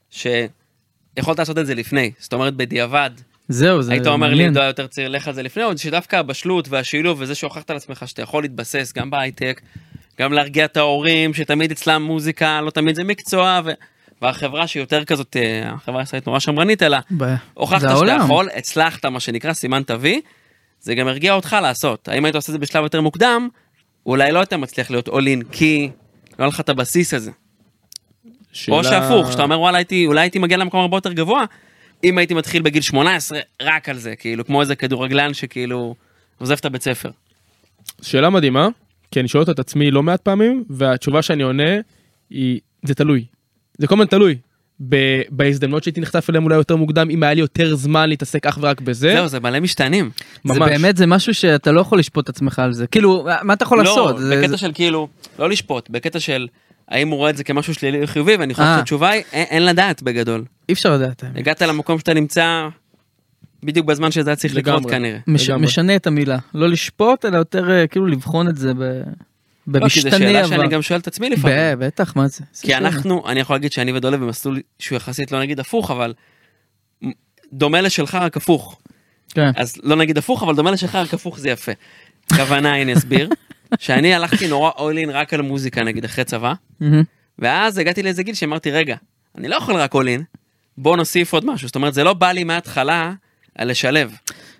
Speaker 3: שיכולת לעשות את זה לפני, זאת אומרת בדיעבד.
Speaker 1: זהו, זה
Speaker 3: היית אומר לי,
Speaker 1: מעניין.
Speaker 3: עידו היה יותר צעיר, לך על זה לפני, עוד שדווקא הבשלות והשילוב וזה שהוכחת על עצמך שאתה יכול להתבסס גם בהייטק, גם להרגיע את ההורים, שתמיד אצלם מוזיקה, לא תמיד זה מקצוע, ו... והחברה שיותר כזאת, אה, החברה הישראלית נורא שמרנית, אלא
Speaker 1: ב-
Speaker 3: הוכחת
Speaker 1: זה
Speaker 3: שאתה
Speaker 1: העולם.
Speaker 3: יכול, הצלחת, מה שנקרא, סימנת וי, זה גם הרגיע אותך לעשות. האם היית עושה את זה בשלב יותר מוקדם, אולי לא היית מצליח להיות all in, כי לא היה לך את הבסיס הזה.
Speaker 4: שאלה...
Speaker 3: או שהפוך, שאתה אומר וואלה הייתי, אולי הייתי מגיע למקום הרבה יותר גבוה, אם הייתי מתחיל בגיל 18 רק על זה, כאילו, כמו איזה כדורגלן שכאילו עוזב את הבית ספר.
Speaker 4: שאלה מדהימה כי אני שואל אותה את עצמי לא מעט פעמים והתשובה שאני עונה היא זה תלוי. זה כל הזמן תלוי ב- בהזדמנות שהייתי נחשף אליהם אולי יותר מוקדם, אם היה לי יותר זמן להתעסק אך ורק
Speaker 1: כן.
Speaker 4: בזה,
Speaker 3: זהו, זה מלא משתנים.
Speaker 1: זה
Speaker 4: ממש.
Speaker 1: באמת, זה משהו שאתה לא יכול לשפוט את עצמך על זה. כאילו, מה אתה יכול לעשות?
Speaker 3: לא,
Speaker 1: זה-
Speaker 3: בקטע
Speaker 1: זה-
Speaker 3: של כאילו, לא לשפוט, בקטע של האם הוא רואה את זה כמשהו שלילי או חיובי, ואני חושב
Speaker 1: אה.
Speaker 3: שהתשובה היא, אין- אין לדעת בגדול.
Speaker 1: אי אפשר לדעת. האמת.
Speaker 3: הגעת למקום שאתה נמצא בדיוק בזמן שזה היה צריך לקרות
Speaker 4: לגמרי.
Speaker 3: כנראה.
Speaker 1: מש-
Speaker 4: לגמרי.
Speaker 1: משנה את המילה. לא לשפוט, אלא יותר אה, כאילו לבחון את זה ב-
Speaker 3: לא, כי זו
Speaker 1: במשתנה.
Speaker 3: שאלה
Speaker 1: אבל.
Speaker 3: שאני גם שואל את עצמי לפעמים.
Speaker 1: ב- בטח, מה זה? זה
Speaker 3: כי
Speaker 1: שאלה.
Speaker 3: אנחנו, אני יכול להגיד שאני ודולב במסלול שהוא יחסית, לא נגיד הפוך, אבל דומה לשלך רק הפוך.
Speaker 1: כן.
Speaker 3: אז לא נגיד הפוך, אבל דומה לשלך רק הפוך זה יפה. כוונה, אני אסביר, שאני הלכתי נורא all in רק על מוזיקה נגיד אחרי צבא,
Speaker 1: מהמם.
Speaker 3: ואז הגעתי לאיזה גיל שאמרתי, רגע, אני לא יכול רק all in, בוא נוסיף עוד משהו. זאת אומרת, זה לא בא לי מההתחלה על לשלב.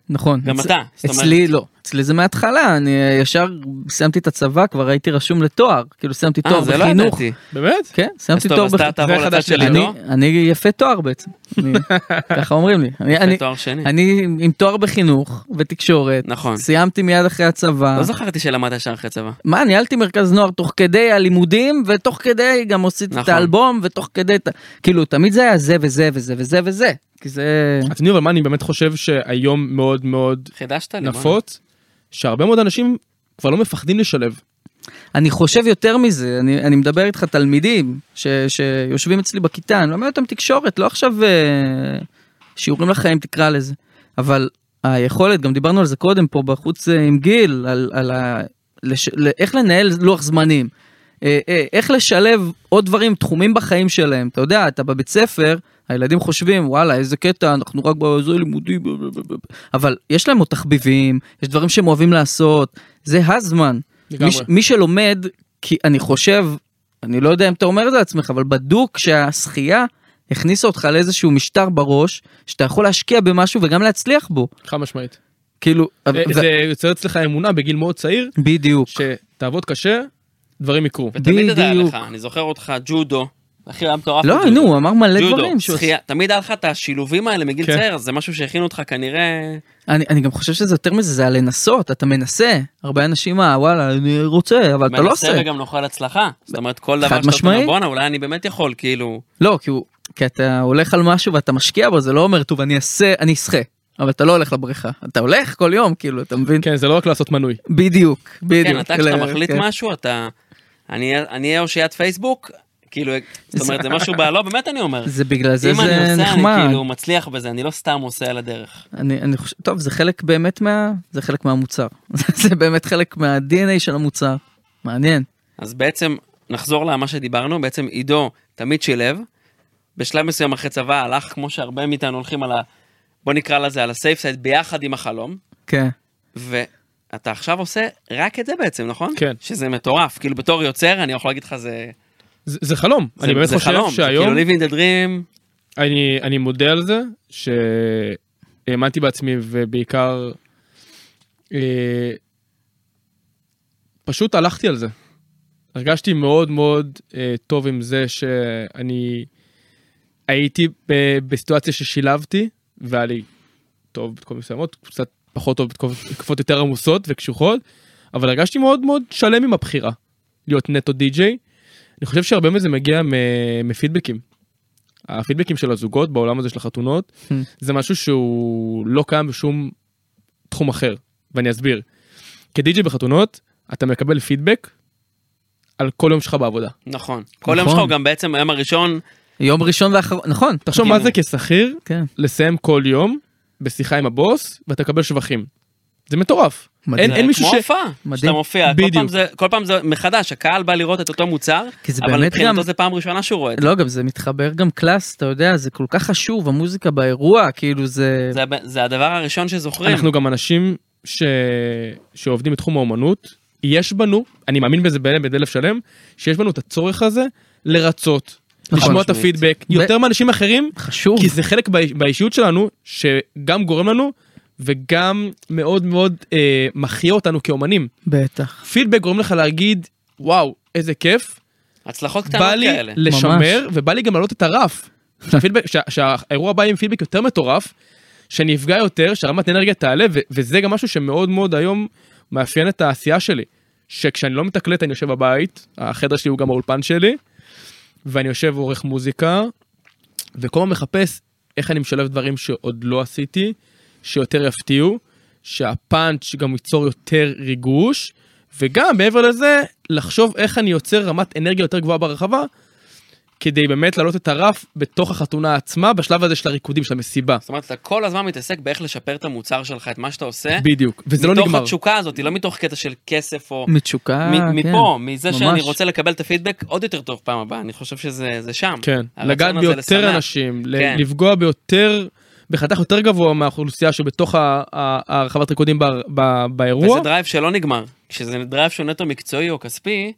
Speaker 1: נכון.
Speaker 3: גם
Speaker 1: אצ-
Speaker 3: אתה, זאת אומרת-
Speaker 1: אצלי לא. אצלי זה מההתחלה, אני אה, ישר סיימתי את הצבא, כבר הייתי רשום לתואר. כאילו סיימתי תואר
Speaker 3: אה, זה לא
Speaker 1: בחינוך.
Speaker 3: ידעתי.
Speaker 4: באמת?
Speaker 1: כן,
Speaker 3: אז
Speaker 1: סיימתי
Speaker 3: טוב,
Speaker 1: תואר
Speaker 3: אז אתה
Speaker 1: בחינוך.
Speaker 3: תעבור
Speaker 4: זה
Speaker 3: לצד
Speaker 4: חדש
Speaker 3: שלי,
Speaker 4: לי,
Speaker 1: אני-
Speaker 3: לא?
Speaker 1: אני יפה תואר בעצם. אני- ככה אומרים לי. אני- אני-
Speaker 3: זה תואר שני.
Speaker 1: אני עם תואר בחינוך ותקשורת.
Speaker 3: נכון.
Speaker 1: סיימתי מיד אחרי הצבא.
Speaker 3: לא זכרתי שלמדת שם אחרי צבא.
Speaker 1: מה, ניהלתי מרכז נוער תוך כדי הלימודים, ותוך כדי גם עשיתי את
Speaker 3: נכון.
Speaker 1: האלבום, ותוך כדי... את ה- כאילו, תמיד זה היה זה וזה וזה וזה וזה. כי זה...
Speaker 4: אתם יודעים אבל מה אני באמת חושב שהיום מאוד מאוד
Speaker 3: חידשת לי. מה?
Speaker 1: נכון.
Speaker 4: נפוץ, שהרבה מאוד אנשים כבר לא מפחדים לשלב.
Speaker 1: אני חושב יותר מזה, אני, אני מדבר איתך תלמידים ש, שיושבים אצלי בכיתה, אני לומד אותם תקשורת, לא עכשיו אה, שיעורים לחיים תקרא לזה, אבל היכולת, גם דיברנו על זה קודם פה בחוץ אה, עם גיל, על, על ה, לש, ל, איך לנהל לוח זמנים, אה, אה, איך לשלב עוד דברים, תחומים בחיים שלהם, אתה יודע, אתה בבית ספר, הילדים חושבים וואלה איזה קטע אנחנו רק בזה לימודי ב- ב- ב- ב-". אבל יש להם עוד תחביבים יש דברים שהם אוהבים לעשות זה הזמן מי, ש- מי שלומד, כי אני חושב, אני לא יודע אם אתה אומר את זה לעצמך, אבל בדוק שהשחייה הכניסה אותך לאיזשהו משטר בראש, שאתה יכול להשקיע במשהו וגם להצליח בו.
Speaker 4: חד משמעית.
Speaker 1: כאילו,
Speaker 4: אה, זה-
Speaker 1: ו-
Speaker 4: זה יוצר אצלך אמונה בגיל מאוד צעיר,
Speaker 1: בדיוק.
Speaker 4: שתעבוד קשה, דברים יקרו.
Speaker 3: ותמיד זה היה
Speaker 1: בדיוק.
Speaker 3: לך, אני זוכר אותך, ג'ודו. אחי, היה מטורף.
Speaker 1: לא,
Speaker 3: בג'ודו.
Speaker 1: נו, הוא אמר מלא
Speaker 3: ג'ודו,
Speaker 1: דברים. שהוא
Speaker 3: שחייה, תמיד היה לך את השילובים האלה מגיל
Speaker 4: כן.
Speaker 3: צעיר, אז זה משהו שהכינו אותך כנראה...
Speaker 1: אני, אני גם חושב שזה יותר מזה, זה הלנסות, אתה מנסה. הרבה אנשים, אה, וואלה, אני רוצה, אבל אתה לא
Speaker 3: מנסה
Speaker 1: עושה.
Speaker 3: וגם נוכל הצלחה. זאת אומרת, כל דבר
Speaker 1: חד
Speaker 3: שאתה עושה,
Speaker 1: משמעית.
Speaker 3: אומר, בואנה, אולי אני באמת יכול, כאילו...
Speaker 1: לא, כי, הוא, כי אתה הולך על משהו ואתה משקיע בו, זה לא אומר, טוב, אני אעשה, אני אשחה. אבל אתה לא הולך לבריכה. אתה הולך כל יום, כאילו, אתה מבין?
Speaker 4: כן, זה לא רק לעשות מנוי.
Speaker 1: בדיוק, בדיוק.
Speaker 3: כן, אתה כשאתה
Speaker 1: ל-
Speaker 3: מחליט
Speaker 1: כן.
Speaker 3: משהו, אתה... אני אני אהיה אושיית פייסבוק, כאילו, זאת אומרת, זה משהו ב... לא, באמת אני אומר.
Speaker 1: זה בגלל זה
Speaker 3: אם אני
Speaker 1: זה
Speaker 3: עושה, אני
Speaker 1: נחמד.
Speaker 3: כאילו מצליח בזה, אני לא סתם עושה על הדרך.
Speaker 1: אני, אני חושב, טוב, זה חלק באמת מה... זה חלק מהמוצר. זה באמת חלק מה-DNA של המוצר. מעניין.
Speaker 3: אז בעצם, נחזור למה שדיברנו, בעצם עידו תמיד שילב. בשלב מסוים אחרי צבא הלך, כמו שהרבה מאיתנו הולכים על ה... בוא נקרא לזה, על הסייף סייד, ביחד עם החלום.
Speaker 1: כן.
Speaker 3: ואתה עכשיו עושה רק את זה בעצם, נכון?
Speaker 4: כן.
Speaker 3: שזה מטורף, כאילו בתור יוצר אני יכול להגיד לך זה...
Speaker 4: זה זה חלום. אני
Speaker 3: זה-
Speaker 4: באמת
Speaker 3: זה
Speaker 4: חושב
Speaker 3: חלום,
Speaker 4: שהיום,
Speaker 3: זה כאילו living the dream,
Speaker 4: אני אני מודה על זה, שהאמנתי בעצמי ובעיקר, אה, פשוט הלכתי על זה. הרגשתי מאוד מאוד אה, טוב עם זה שאני הייתי ב- בסיטואציה ששילבתי, והיה לי טוב בתקופות מסוימות, קצת פחות טוב בתקופות תקופות יותר עמוסות וקשוחות, אבל הרגשתי מאוד מאוד שלם עם הבחירה, להיות נטו די-ג'יי. אני חושב שהרבה מזה מגיע מ- מפידבקים. הפידבקים של הזוגות בעולם הזה של החתונות,
Speaker 1: Hmm.
Speaker 4: זה משהו שהוא לא קיים בשום תחום אחר, ואני אסביר. כדי-ג'יי בחתונות, אתה מקבל פידבק על כל יום שלך בעבודה.
Speaker 3: נכון. כל יום שלך הוא גם בעצם היום הראשון,
Speaker 1: יום ראשון ואחרון, נכון.
Speaker 4: תחשוב
Speaker 3: כאילו.
Speaker 4: מה זה כשכיר
Speaker 1: כן.
Speaker 4: לסיים כל יום בשיחה עם הבוס ואתה מקבל שבחים. זה מטורף.
Speaker 1: מדהים.
Speaker 4: אין,
Speaker 3: זה
Speaker 4: אין מישהו
Speaker 3: כמו
Speaker 4: ש...
Speaker 3: הופעה,
Speaker 1: מדהים.
Speaker 3: שאתה מופיע, כל
Speaker 4: בדיוק.
Speaker 3: פעם, זה, כל פעם זה מחדש, הקהל בא לראות את אותו מוצר,
Speaker 1: כי זה
Speaker 3: אבל
Speaker 1: באמת
Speaker 3: מבחינתו
Speaker 1: גם-
Speaker 3: זה פעם ראשונה שהוא רואה את זה.
Speaker 1: לא, גם זה מתחבר גם קלאס, אתה יודע, זה כל כך חשוב, המוזיקה באירוע, כאילו זה...
Speaker 3: זה, הב- זה הדבר הראשון שזוכרים.
Speaker 4: אנחנו גם אנשים ש... שעובדים בתחום האומנות, יש בנו, אני מאמין בזה בעיני בלב שלם, שיש בנו את הצורך הזה לרצות,
Speaker 1: נכון,
Speaker 4: לשמוע את
Speaker 3: משמעית.
Speaker 4: הפידבק,
Speaker 1: ו-
Speaker 4: יותר מאנשים אחרים,
Speaker 1: חשוב.
Speaker 4: כי זה חלק באיש- באישיות שלנו, שגם גורם לנו וגם מאוד מאוד אה, מכריע אותנו כאומנים.
Speaker 1: בטח.
Speaker 4: פידבק גורם לך להגיד, וואו, איזה כיף,
Speaker 3: הצלחות קטנות
Speaker 4: בא לי
Speaker 3: כאלה.
Speaker 4: לשמר, ובא לי גם להעלות את הרף. שהפידבק- שה- שהאירוע בא עם פידבק יותר מטורף, שנפגע יותר, שרמת אנרגיה תעלה, ו- וזה גם משהו שמאוד מאוד היום מאפיין את העשייה שלי. שכשאני לא מתקלט אני יושב בבית, החדר שלי הוא גם האולפן שלי, ואני יושב ועורך מוזיקה, וכל הזמן מחפש איך אני משלב דברים שעוד לא עשיתי, שיותר יפתיעו, שהפאנץ' גם ייצור יותר ריגוש, וגם מעבר לזה, לחשוב איך אני יוצר רמת אנרגיה יותר גבוהה ברחבה, כדי באמת להעלות את הרף בתוך החתונה עצמה, בשלב הזה של הריקודים, של המסיבה.
Speaker 3: זאת אומרת, אתה כל הזמן מתעסק באיך לשפר את המוצר שלך, את מה שאתה עושה.
Speaker 4: בדיוק, וזה לא
Speaker 3: אה? מתוך
Speaker 4: נגמר.
Speaker 3: התשוקה הזאת, לא מתוך קטע של כסף או...
Speaker 1: מתשוקה,
Speaker 4: אה,
Speaker 3: מ-
Speaker 1: כן.
Speaker 3: מפה, מזה
Speaker 1: ממש.
Speaker 3: שאני רוצה לקבל את הפידבק עוד יותר טוב פעם הבאה, אני חושב שזה זה שם.
Speaker 4: כן,
Speaker 3: הרצון
Speaker 4: לגעת
Speaker 3: הזה
Speaker 4: ביותר
Speaker 3: לשמח.
Speaker 4: אנשים, ל-
Speaker 3: כן.
Speaker 4: לפגוע ביותר, בחתך יותר גבוה מהאוכלוסייה שבתוך ה- ה- הרחבת ריקודים ב- ב- באירוע.
Speaker 3: וזה דרייב שלא נגמר. כשזה דרייב שהוא נטו מקצועי או כספי,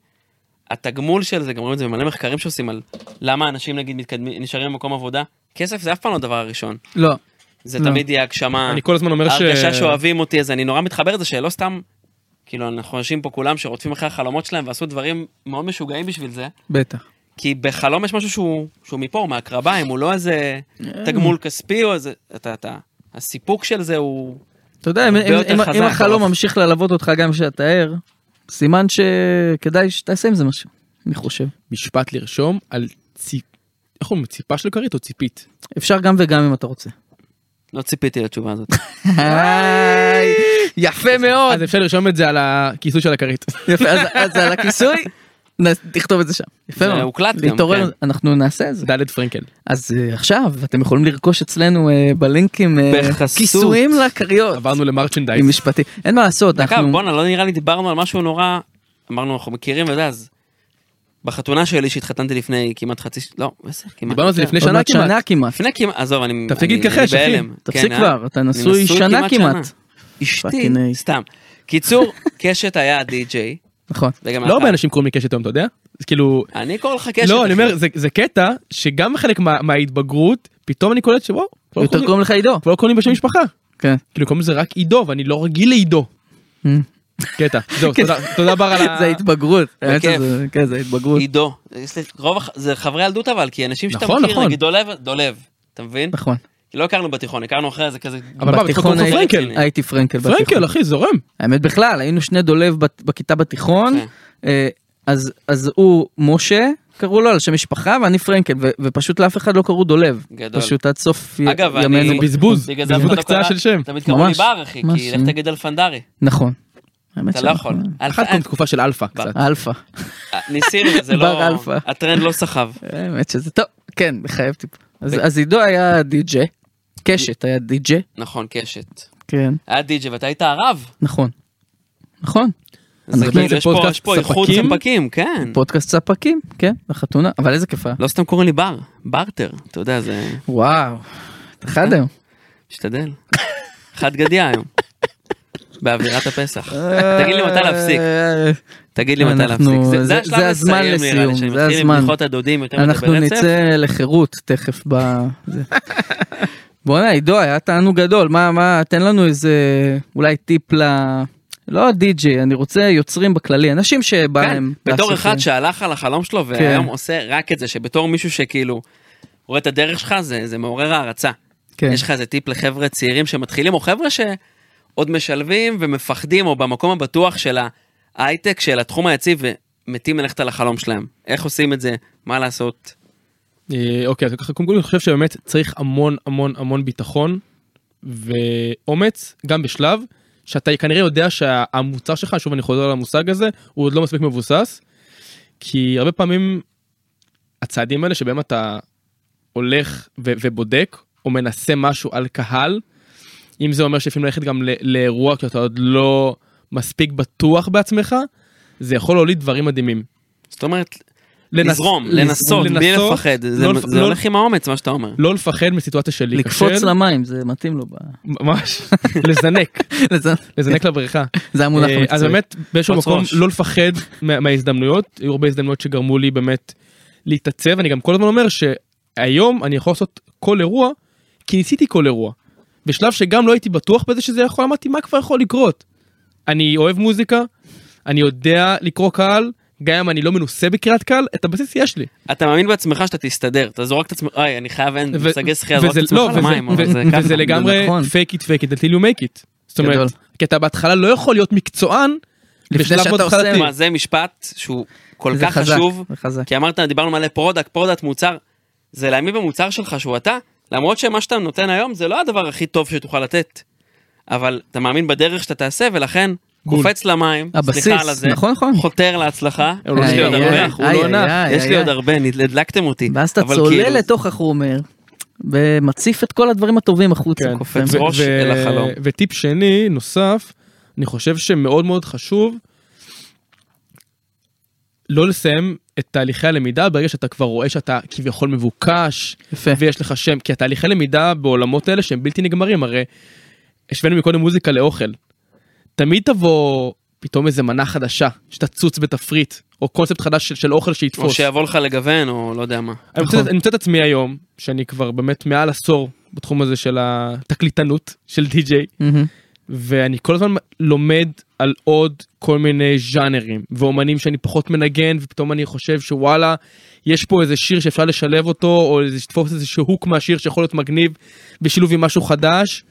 Speaker 3: התגמול של זה, גם רואים את זה במלא מחקרים שעושים על למה אנשים נגיד מתקדמים, נשארים במקום עבודה. כסף זה אף פעם לא הדבר הראשון.
Speaker 1: לא,
Speaker 3: זה
Speaker 1: לא.
Speaker 3: תמיד יהיה הגשמה,
Speaker 4: אני כל הזמן אומר ש...
Speaker 3: הרגשה שאוהבים אותי, אז אני נורא מתחבר לזה שלא סתם, כאילו אנחנו אנשים פה כולם שרודפים אחרי החלומות שלהם ועשו דברים מאוד משוגעים בשביל זה,
Speaker 1: בטח.
Speaker 3: כי בחלום יש משהו שהוא, שהוא מפה, הוא מהקרביים, הוא לא איזה תגמול כספי או איזה, אתה, אתה, הסיפוק של זה הוא,
Speaker 1: אתה יודע, אם,
Speaker 3: הרבה
Speaker 1: אם,
Speaker 3: יותר
Speaker 1: אם,
Speaker 3: חזק,
Speaker 1: אם החלום
Speaker 3: הרוב.
Speaker 1: ממשיך ללוות אותך גם כשאתה ער, סימן שכדאי שתעשה עם זה משהו, אני חושב.
Speaker 4: משפט לרשום על ציפ... איך אומרים? ציפה של כרית או ציפית?
Speaker 1: אפשר גם וגם אם אתה רוצה.
Speaker 3: לא ציפיתי לתשובה הזאת.
Speaker 1: היי, יפה מאוד.
Speaker 4: אז אפשר לרשום את זה על הכיסוי של הכרית.
Speaker 1: יפה, אז, אז על הכיסוי, נ- תכתוב את זה שם. יפה
Speaker 3: זה
Speaker 1: מאוד.
Speaker 3: הוקלט גם,
Speaker 1: להתעורר,
Speaker 3: כן.
Speaker 1: אנחנו נעשה את זה.
Speaker 4: ד' פרנקל.
Speaker 1: אז אה, עכשיו אתם יכולים לרכוש אצלנו אה, בלינקים אה,
Speaker 3: בחסות.
Speaker 1: כיסויים לכריות.
Speaker 4: עברנו למרצ'נדייז.
Speaker 1: עם משפטי. אין מה לעשות,
Speaker 3: דקה,
Speaker 1: אנחנו...
Speaker 3: בואנה, לא נראה לי דיברנו על משהו נורא, אמרנו, אנחנו מכירים וזה, אז בחתונה שלי שהתחתנתי לפני כמעט חצי, ש- לא, בסדר, כמעט.
Speaker 4: דיברנו על זה
Speaker 3: כן.
Speaker 4: לפני
Speaker 1: עוד
Speaker 4: שנה
Speaker 1: מעט
Speaker 4: כמעט.
Speaker 1: שנה כמעט.
Speaker 3: לפני כמעט, עזוב, אני...
Speaker 4: תפסיק
Speaker 3: אני-
Speaker 4: להתכחש,
Speaker 3: אני
Speaker 4: אחי.
Speaker 3: בהלם.
Speaker 1: תפסיק
Speaker 3: כן,
Speaker 1: כבר, אתה
Speaker 3: אני
Speaker 1: נשוי שנה כמעט.
Speaker 3: שנה. אשתי,
Speaker 1: פאקינג.
Speaker 3: סתם. קיצור, קשת היה די-ג'יי.
Speaker 1: נכון.
Speaker 3: וגם
Speaker 4: לא
Speaker 3: אתה.
Speaker 4: הרבה אנשים קוראים לי קשת היום, אתה יודע? זה כאילו...
Speaker 3: אני קורא לך קשת.
Speaker 4: לא, אני
Speaker 3: אחי.
Speaker 4: אומר, זה- זה קטע שגם חלק מה- מההתבגרות, פתאום אני קולט שוואו, כבר לא
Speaker 1: יותר
Speaker 4: קוראים-
Speaker 1: קוראים לך עידו.
Speaker 4: כבר לא קוראים לי בשם משפחה.
Speaker 1: כן.
Speaker 4: כאילו קוראים לזה רק עידו, ואני לא רגיל לעידו.
Speaker 1: Mm. כן.
Speaker 4: קטע. זהו, תודה- תודה בר על ה...
Speaker 1: זה התבגרות. האמת
Speaker 3: בכיף.
Speaker 1: שזה- כן, זה התבגרות.
Speaker 3: עידו. יש לי- רוב, הח- זה חברי ילדות אבל, כי אנשים שאתה
Speaker 4: נכון,
Speaker 3: מכיר,
Speaker 4: נכון.
Speaker 3: נגיד דולב, דולב. אתה מבין?
Speaker 1: נכון.
Speaker 3: לא הכרנו בתיכון, הכרנו אחרי זה כזה.
Speaker 4: אבל מה,
Speaker 1: בתיכון
Speaker 4: בתיכון
Speaker 1: הייתי-
Speaker 4: פרנקל.
Speaker 1: הייתי פרנקל בתיכון.
Speaker 4: פרנקל, אחי, זורם.
Speaker 1: האמת בכלל, היינו שני דולב בת- בכיתה בתיכון,
Speaker 3: כן.
Speaker 1: אה, אז אז הוא משה, קראו לו על שם משפחה, ואני פרנקל, ו- ופשוט לאף אחד לא קראו דולב.
Speaker 3: גדול.
Speaker 1: פשוט עד סוף י-
Speaker 3: אגב, אני...
Speaker 1: ימינו.
Speaker 4: בזבוז,
Speaker 3: בגלל זה אף
Speaker 4: בזבוז
Speaker 3: אחד לא
Speaker 4: הקצאה
Speaker 3: קרא-
Speaker 4: של שם.
Speaker 3: תמיד קראו לי
Speaker 1: ממש,
Speaker 3: בר, אחי,
Speaker 1: ממש,
Speaker 3: כי לך
Speaker 1: אה.
Speaker 3: תגיד אלפנדרי.
Speaker 1: נכון. האמת
Speaker 3: אתה לא
Speaker 1: שאנחנו-
Speaker 3: יכול. אלפ-
Speaker 4: אחת כמו תקופה של אלפא קצת.
Speaker 1: אלפא.
Speaker 3: ניסינו, זה לא...
Speaker 1: בר אלפא.
Speaker 3: הטרנד לא סחב.
Speaker 1: האמת שזה טוב, כן, מחייב טיפה. אז- אז עידו היה די-ג'יי, קשת היה די-ג'יי,
Speaker 3: נכון, קשת.
Speaker 1: כן,
Speaker 3: היה די-ג'י ואתה היית הרב.
Speaker 1: נכון. נכון,
Speaker 3: זה
Speaker 1: אנחנו
Speaker 3: כאילו,
Speaker 4: זה
Speaker 3: יש פה-
Speaker 4: פודקאסט
Speaker 3: יש פה איחוד
Speaker 4: ספקים?
Speaker 3: ספקים, כן.
Speaker 1: פודקאסט ספקים, כן, בחתונה, אבל איזה כיף היה.
Speaker 3: לא סתם קוראים לי בר, ברטר, אתה יודע, זה...
Speaker 1: וואו, אתה חד היום.
Speaker 3: משתדל. חד גדיה היום. באווירת הפסח. תגיד לי מתי להפסיק,
Speaker 1: אה,
Speaker 3: תגיד לי מתי
Speaker 1: אנחנו-
Speaker 3: להפסיק.
Speaker 1: זה-
Speaker 3: השלב
Speaker 1: זה הזמן
Speaker 3: לסיים, נראה לי,
Speaker 1: לסיום,
Speaker 3: שאני
Speaker 1: זה
Speaker 3: מתחיל עם
Speaker 1: הזמן.
Speaker 3: בדיחות הדודים יותר מדי
Speaker 1: אנחנו
Speaker 3: ברצף. כן,
Speaker 1: נצא לחירות תכף ב... זה. בואנה עידו היה תענוג גדול מה מה תן לנו איזה אולי טיפ ל... לא די.ג'יי אני רוצה יוצרים בכללי אנשים שבא
Speaker 3: כן,
Speaker 1: להם.
Speaker 3: בתור
Speaker 1: לעשות
Speaker 3: אחד
Speaker 1: זה.
Speaker 3: שהלך על החלום
Speaker 1: כן.
Speaker 3: שלו והיום עושה רק את זה, שבתור מישהו שכאילו רואה את הדרך שלך, זה זה מעורר הערצה.
Speaker 1: כן.
Speaker 3: יש לך איזה טיפ לחבר'ה צעירים שמתחילים, או חבר'ה שעוד משלבים ומפחדים, או במקום הבטוח של ההייטק, של התחום היציב, ומתים ללכת על החלום שלהם. איך עושים את זה? מה לעשות?
Speaker 4: אה, אוקיי, אז ככה, קודם כל אני חושב שבאמת צריך המון המון המון ביטחון ואומץ, גם בשלב שאתה כנראה יודע שהמוצר שלך, שוב אני חוזר על המושג הזה, הוא עוד לא מספיק מבוסס, כי הרבה פעמים הצעדים האלה שבהם אתה הולך ו- ובודק או מנסה משהו על קהל, אם זה אומר שלפעמים ללכת גם ל- לאירוע כי אתה עוד לא מספיק בטוח בעצמך, זה יכול להוליד דברים מדהימים.
Speaker 3: זאת אומרת,
Speaker 4: לנס-
Speaker 3: לזרום,
Speaker 4: לזרום,
Speaker 3: לנסות, בלי
Speaker 4: לנסות,
Speaker 3: לפחד. זה-
Speaker 4: לא לפ-
Speaker 3: זה
Speaker 4: לא-
Speaker 3: הולך עם האומץ, מה שאתה אומר.
Speaker 4: לא לפחד מסיטואציה של
Speaker 1: לקפוץ למים זה מתאים לו. ב-
Speaker 4: ממש, לזנק,
Speaker 1: לזה-
Speaker 4: לזנק לבריכה.
Speaker 1: זה המונח
Speaker 4: אה, אז
Speaker 1: המקצועי.
Speaker 4: באמת באיזשהו
Speaker 3: קפוץ
Speaker 4: מקום
Speaker 3: ראש.
Speaker 4: לא לפחד מה- מההזדמנויות, היו הרבה הזדמנויות שגרמו לי באמת להתעצב, אני גם כל הזמן אומר שהיום אני יכול לעשות כל אירוע, כי ניסיתי כל אירוע. בשלב שגם לא הייתי בטוח בזה שזה יכול, אמרתי מה כבר יכול לקרות. אני אוהב מוזיקה, אני יודע לקרוא קהל, גם אם אני לא מנוסה בקריאת קהל, את הבסיס יש לי.
Speaker 3: אתה מאמין בעצמך שאתה תסתדר, אתה זורק את עצמך, אוי, אני חייב, אין,
Speaker 4: ו-
Speaker 3: מושגי שחייה, זורק
Speaker 4: וזה-
Speaker 3: את עצמך
Speaker 4: לא, וזה-
Speaker 3: למים, כן, אבל
Speaker 4: ו-
Speaker 3: זה
Speaker 4: וזה
Speaker 3: ככה.
Speaker 4: לגמרי
Speaker 1: נכון.
Speaker 4: fake it fake it until you make it. זאת
Speaker 1: גדול.
Speaker 4: אומרת, כי אתה בהתחלה לא יכול להיות מקצוען.
Speaker 1: לפני
Speaker 4: בשלב
Speaker 1: שאתה
Speaker 4: מאוד
Speaker 1: עושה
Speaker 4: התחלתי.
Speaker 1: מה
Speaker 3: מה, זה משפט שהוא כל
Speaker 1: זה
Speaker 3: כך
Speaker 1: חזק,
Speaker 3: חשוב,
Speaker 1: זה חזק.
Speaker 3: כי אמרת, דיברנו מלא פרודקט, פרודקט, מוצר, זה להאמין במוצר שלך שהוא אתה, למרות שמה שאתה נותן היום זה לא הדבר הכי טוב שתוכל לתת. אבל אתה מאמין בדרך שאתה תעשה, ולכן
Speaker 4: בול.
Speaker 3: קופץ למים,
Speaker 1: הבסיס,
Speaker 3: סליחה על הזה,
Speaker 1: נכון, נכון.
Speaker 3: חותר להצלחה.
Speaker 4: הוא לא
Speaker 3: יש לי
Speaker 4: שנייה,
Speaker 3: עוד
Speaker 1: איי,
Speaker 4: הוא לא
Speaker 3: הרבה,
Speaker 1: איי,
Speaker 4: נח, הוא
Speaker 1: איי,
Speaker 4: לא נח.
Speaker 1: איי,
Speaker 3: יש לי
Speaker 1: איי.
Speaker 3: עוד הרבה, נד- הדלקתם אותי.
Speaker 1: ואז אתה
Speaker 3: אבל
Speaker 1: צולל
Speaker 3: כאילו,
Speaker 1: לתוך החומר, ומציף את כל הדברים הטובים החוצה.
Speaker 4: כן.
Speaker 1: קופץ.
Speaker 3: ו- ראש אל החלום.
Speaker 4: וטיפ שני, נוסף, אני חושב שמאוד מאוד חשוב לא לסיים את תהליכי הלמידה ברגע שאתה כבר רואה שאתה כביכול מבוקש,
Speaker 1: יפה.
Speaker 4: ויש לך שם, כי התהליכי למידה בעולמות האלה שהם בלתי נגמרים, הרי השווינו מקודם מוזיקה לאוכל. תמיד תבוא פתאום איזה מנה חדשה, שתצוץ בתפריט, או קונספט חדש של, של אוכל שיתפוס.
Speaker 3: או שיבוא לך לגוון, או לא יודע מה.
Speaker 4: אני מוצא, אני מוצא את עצמי היום, שאני כבר באמת מעל עשור בתחום הזה של התקליטנות, של די-ג'יי,
Speaker 1: מהמם.
Speaker 4: ואני כל הזמן לומד על עוד כל מיני ז'אנרים ואומנים שאני פחות מנגן ופתאום אני חושב שוואלה יש פה איזה שיר שאפשר לשלב אותו או איזה לתפוס איזה שהוק מהשיר שיכול להיות מגניב בשילוב עם משהו חדש.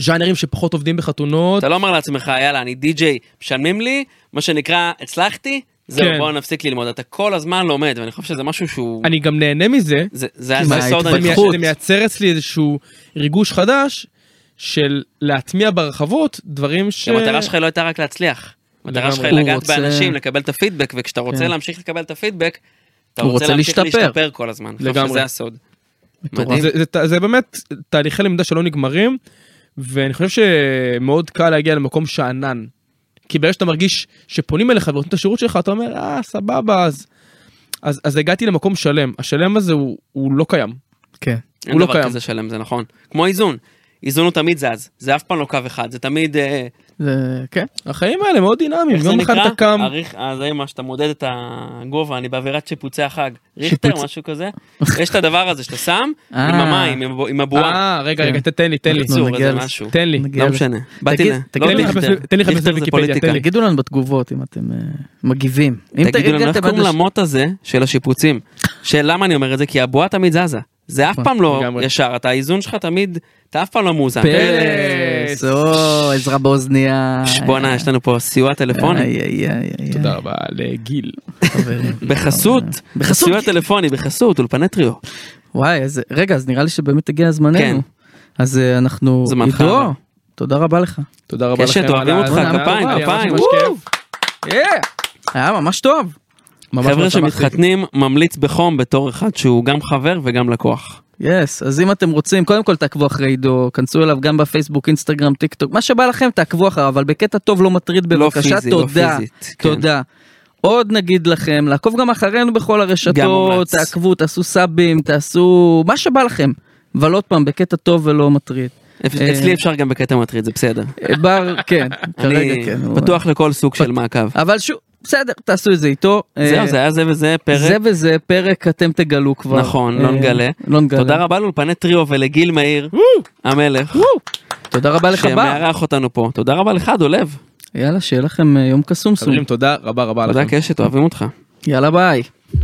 Speaker 4: ז'אנרים שפחות עובדים בחתונות
Speaker 3: אתה לא אומר לעצמך, יאללה, אני די-ג'יי, משלמים לי, מה שנקרא, הצלחתי, זהו,
Speaker 4: כן.
Speaker 3: בוא נפסיק ללמוד. אתה כל הזמן לומד, ואני חושב שזה משהו שהוא...
Speaker 4: אני גם נהנה מזה
Speaker 3: זה- זה
Speaker 1: כי
Speaker 3: זה
Speaker 1: מה,
Speaker 3: סוד
Speaker 4: זה מייצר-
Speaker 1: התפתחות.
Speaker 3: הנפחות.
Speaker 4: זה מייצר אצלי איזשהו ריגוש חדש של להטמיע ברחבות דברים ש...
Speaker 3: המטרה שלך לא הייתה רק להצליח. המטרה
Speaker 4: כן. לגמרי.
Speaker 3: שלך היא
Speaker 1: הוא
Speaker 3: לגעת
Speaker 1: רוצה-
Speaker 3: באנשים, לקבל את הפידבק, וכשאתה רוצה
Speaker 1: כן.
Speaker 3: להמשיך לקבל את הפידבק, אתה
Speaker 1: הוא
Speaker 3: רוצה
Speaker 1: רוצה
Speaker 3: להמשיך
Speaker 1: להשתפר.
Speaker 3: להשתפר כל הזמן. אני חושב
Speaker 4: לגמרי.
Speaker 3: שזה הסוד.
Speaker 1: מטורף.
Speaker 3: מדהים.
Speaker 4: זה, זה, זה, זה באמת תהליכי למידה שלא נגמרים, ואני חושב שמאוד קל להגיע למקום שאנן. כי ברגע שאתה מרגיש שפונים אליך ורוצים את השירות שלך, אתה אומר, אה, סבבה, אז, אז, אז הגעתי למקום שלם. השלם הזה הוא, הוא לא קיים.
Speaker 1: כן.
Speaker 3: אין
Speaker 4: הוא לא
Speaker 3: דבר
Speaker 4: קיים.
Speaker 3: כזה שלם, זה נכון. כמו איזון. איזון הוא תמיד זז, זה אף פעם לא קו אחד, זה תמיד, אה,
Speaker 1: זה- כן.
Speaker 4: החיים האלה מאוד דינמיים.
Speaker 3: איך זה
Speaker 1: לא
Speaker 4: יום אחד
Speaker 3: נקרא?
Speaker 4: אתה קם,
Speaker 3: הריך- אה, זה מה שאתה מודד את הגובה, אני באווירת שיפוצי החג. ריכטר,
Speaker 1: שיפוץ.
Speaker 3: משהו כזה. יש את הדבר הזה שאתה שם,
Speaker 1: אה.
Speaker 3: עם המים, עם הבו- עם הבועה.
Speaker 4: אה, רגע,
Speaker 1: כן.
Speaker 4: רגע, תן לי, תן לי.
Speaker 1: אנחנו
Speaker 3: בקיצור,
Speaker 1: נגיע
Speaker 3: איזה
Speaker 1: לזה.
Speaker 3: משהו.
Speaker 4: תן לי.
Speaker 1: נגיע
Speaker 3: לא
Speaker 1: לזה.
Speaker 3: משנה, באתי
Speaker 1: תגיד-
Speaker 3: ל...
Speaker 1: תגיד
Speaker 3: לא
Speaker 1: לי,
Speaker 3: ריכטר.
Speaker 4: לחפש- תן לי לחפש
Speaker 3: ריכטר זה
Speaker 4: בוויקיפדיה,
Speaker 3: פוליטיקה.
Speaker 4: תן לי.
Speaker 1: תגידו לנו בתגובות אם אתם אה, מגיבים. אם
Speaker 3: תגידו לנו
Speaker 1: תגידו
Speaker 3: איך
Speaker 1: את
Speaker 3: קוראים
Speaker 1: הש-
Speaker 3: למוט הזה של השיפוצים. שלמה אני אומר את זה? כי הבועה תמיד זזה. זה אף
Speaker 1: נכון,
Speaker 3: פעם לא
Speaker 4: לגמרי.
Speaker 3: ישר, אתה האיזון שלך תמיד, אתה אף פעם לא מאוזן.
Speaker 1: פרס, או עזרא באוזניה.
Speaker 3: אה, ש-
Speaker 1: אה.
Speaker 3: בואנה, יש לנו פה סיוע טלפוני.
Speaker 1: איי, איי, איי, איי,
Speaker 4: לא,
Speaker 3: כן.
Speaker 4: תודה רבה לגיל.
Speaker 1: חברים.
Speaker 3: בחסות,
Speaker 1: בחסות.
Speaker 3: סיוע טלפוני, בחסות, אולפני טריו.
Speaker 1: וואי, אז רגע, אז נראה לי שבאמת הגיע
Speaker 3: כן.
Speaker 1: זמננו. אז אה, אנחנו...
Speaker 3: זמנך
Speaker 1: עידו,
Speaker 3: עבר.
Speaker 1: תודה רבה לך.
Speaker 4: תודה רבה
Speaker 3: קשת,
Speaker 4: לכם.
Speaker 3: אוהבים
Speaker 4: על
Speaker 3: אותך,
Speaker 4: ההאזנה.
Speaker 3: כפיים,
Speaker 4: היה ממש
Speaker 3: כפיים.
Speaker 4: ממש כיף.
Speaker 1: היה ממש טוב.
Speaker 4: ממש
Speaker 3: חבר'ה
Speaker 4: ממש שמחתי.
Speaker 3: שמתחתנים ממליץ בחום בתור אחד שהוא גם חבר וגם לקוח.
Speaker 1: יס, yes, אז אם אתם רוצים, קודם כל תעקבו אחרי עידו, כנסו אליו גם בפייסבוק, אינסטגרם, טיק טוק, מה שבא לכם תעקבו אחריו, אבל בקטע טוב לא מטריד
Speaker 3: לא
Speaker 1: בבקשה,
Speaker 3: פיזי, לא
Speaker 1: תודה,
Speaker 3: פיזית, כן.
Speaker 1: תודה. עוד נגיד לכם, לעקוב גם אחרינו בכל
Speaker 3: גם
Speaker 1: הרשתות,
Speaker 3: מומלץ.
Speaker 1: תעקבו, תעשו סאבים, תעשו מה שבא לכם, אבל עוד פעם, בקטע טוב ולא מטריד.
Speaker 3: אפ-
Speaker 1: אה,
Speaker 3: אצלי אפשר גם בקטע מטריד, זה בסדר.
Speaker 1: אה, בר, כן, כרגע
Speaker 3: אני
Speaker 1: כן. הוא-
Speaker 3: פתוח לכל סוג של מעקב.
Speaker 1: אבל שוב, בסדר, תעשו את זה איתו. אה,
Speaker 3: זהו, זה היה זה וזה
Speaker 1: זה
Speaker 3: פרק.
Speaker 1: וזה פרק אתם תגלו כבר.
Speaker 3: נכון, לא
Speaker 1: אה,
Speaker 3: נגלה.
Speaker 1: לא נגלה.
Speaker 3: תודה רבה לאולפני טריו ולגיל מאיר, המלך,
Speaker 1: תודה רבה לך בר.
Speaker 3: שמארח אותנו פה. תודה רבה לך, דולב.
Speaker 1: יאללה, שיהיה לכם אה, יום קסומסום.
Speaker 4: חברים, תודה רבה רבה לכם.
Speaker 3: תודה קשת, אוהבים אותך.
Speaker 1: יאללה ביי.
Speaker 5: זה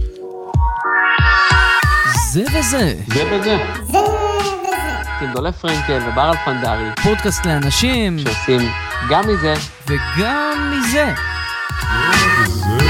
Speaker 5: וזה,
Speaker 2: זה וזה. עם דולף פרנקל ובר אלפנדרי,
Speaker 5: פודקאסט לאנשים,
Speaker 2: שעושים גם מזה
Speaker 5: וגם מזה.
Speaker 6: זה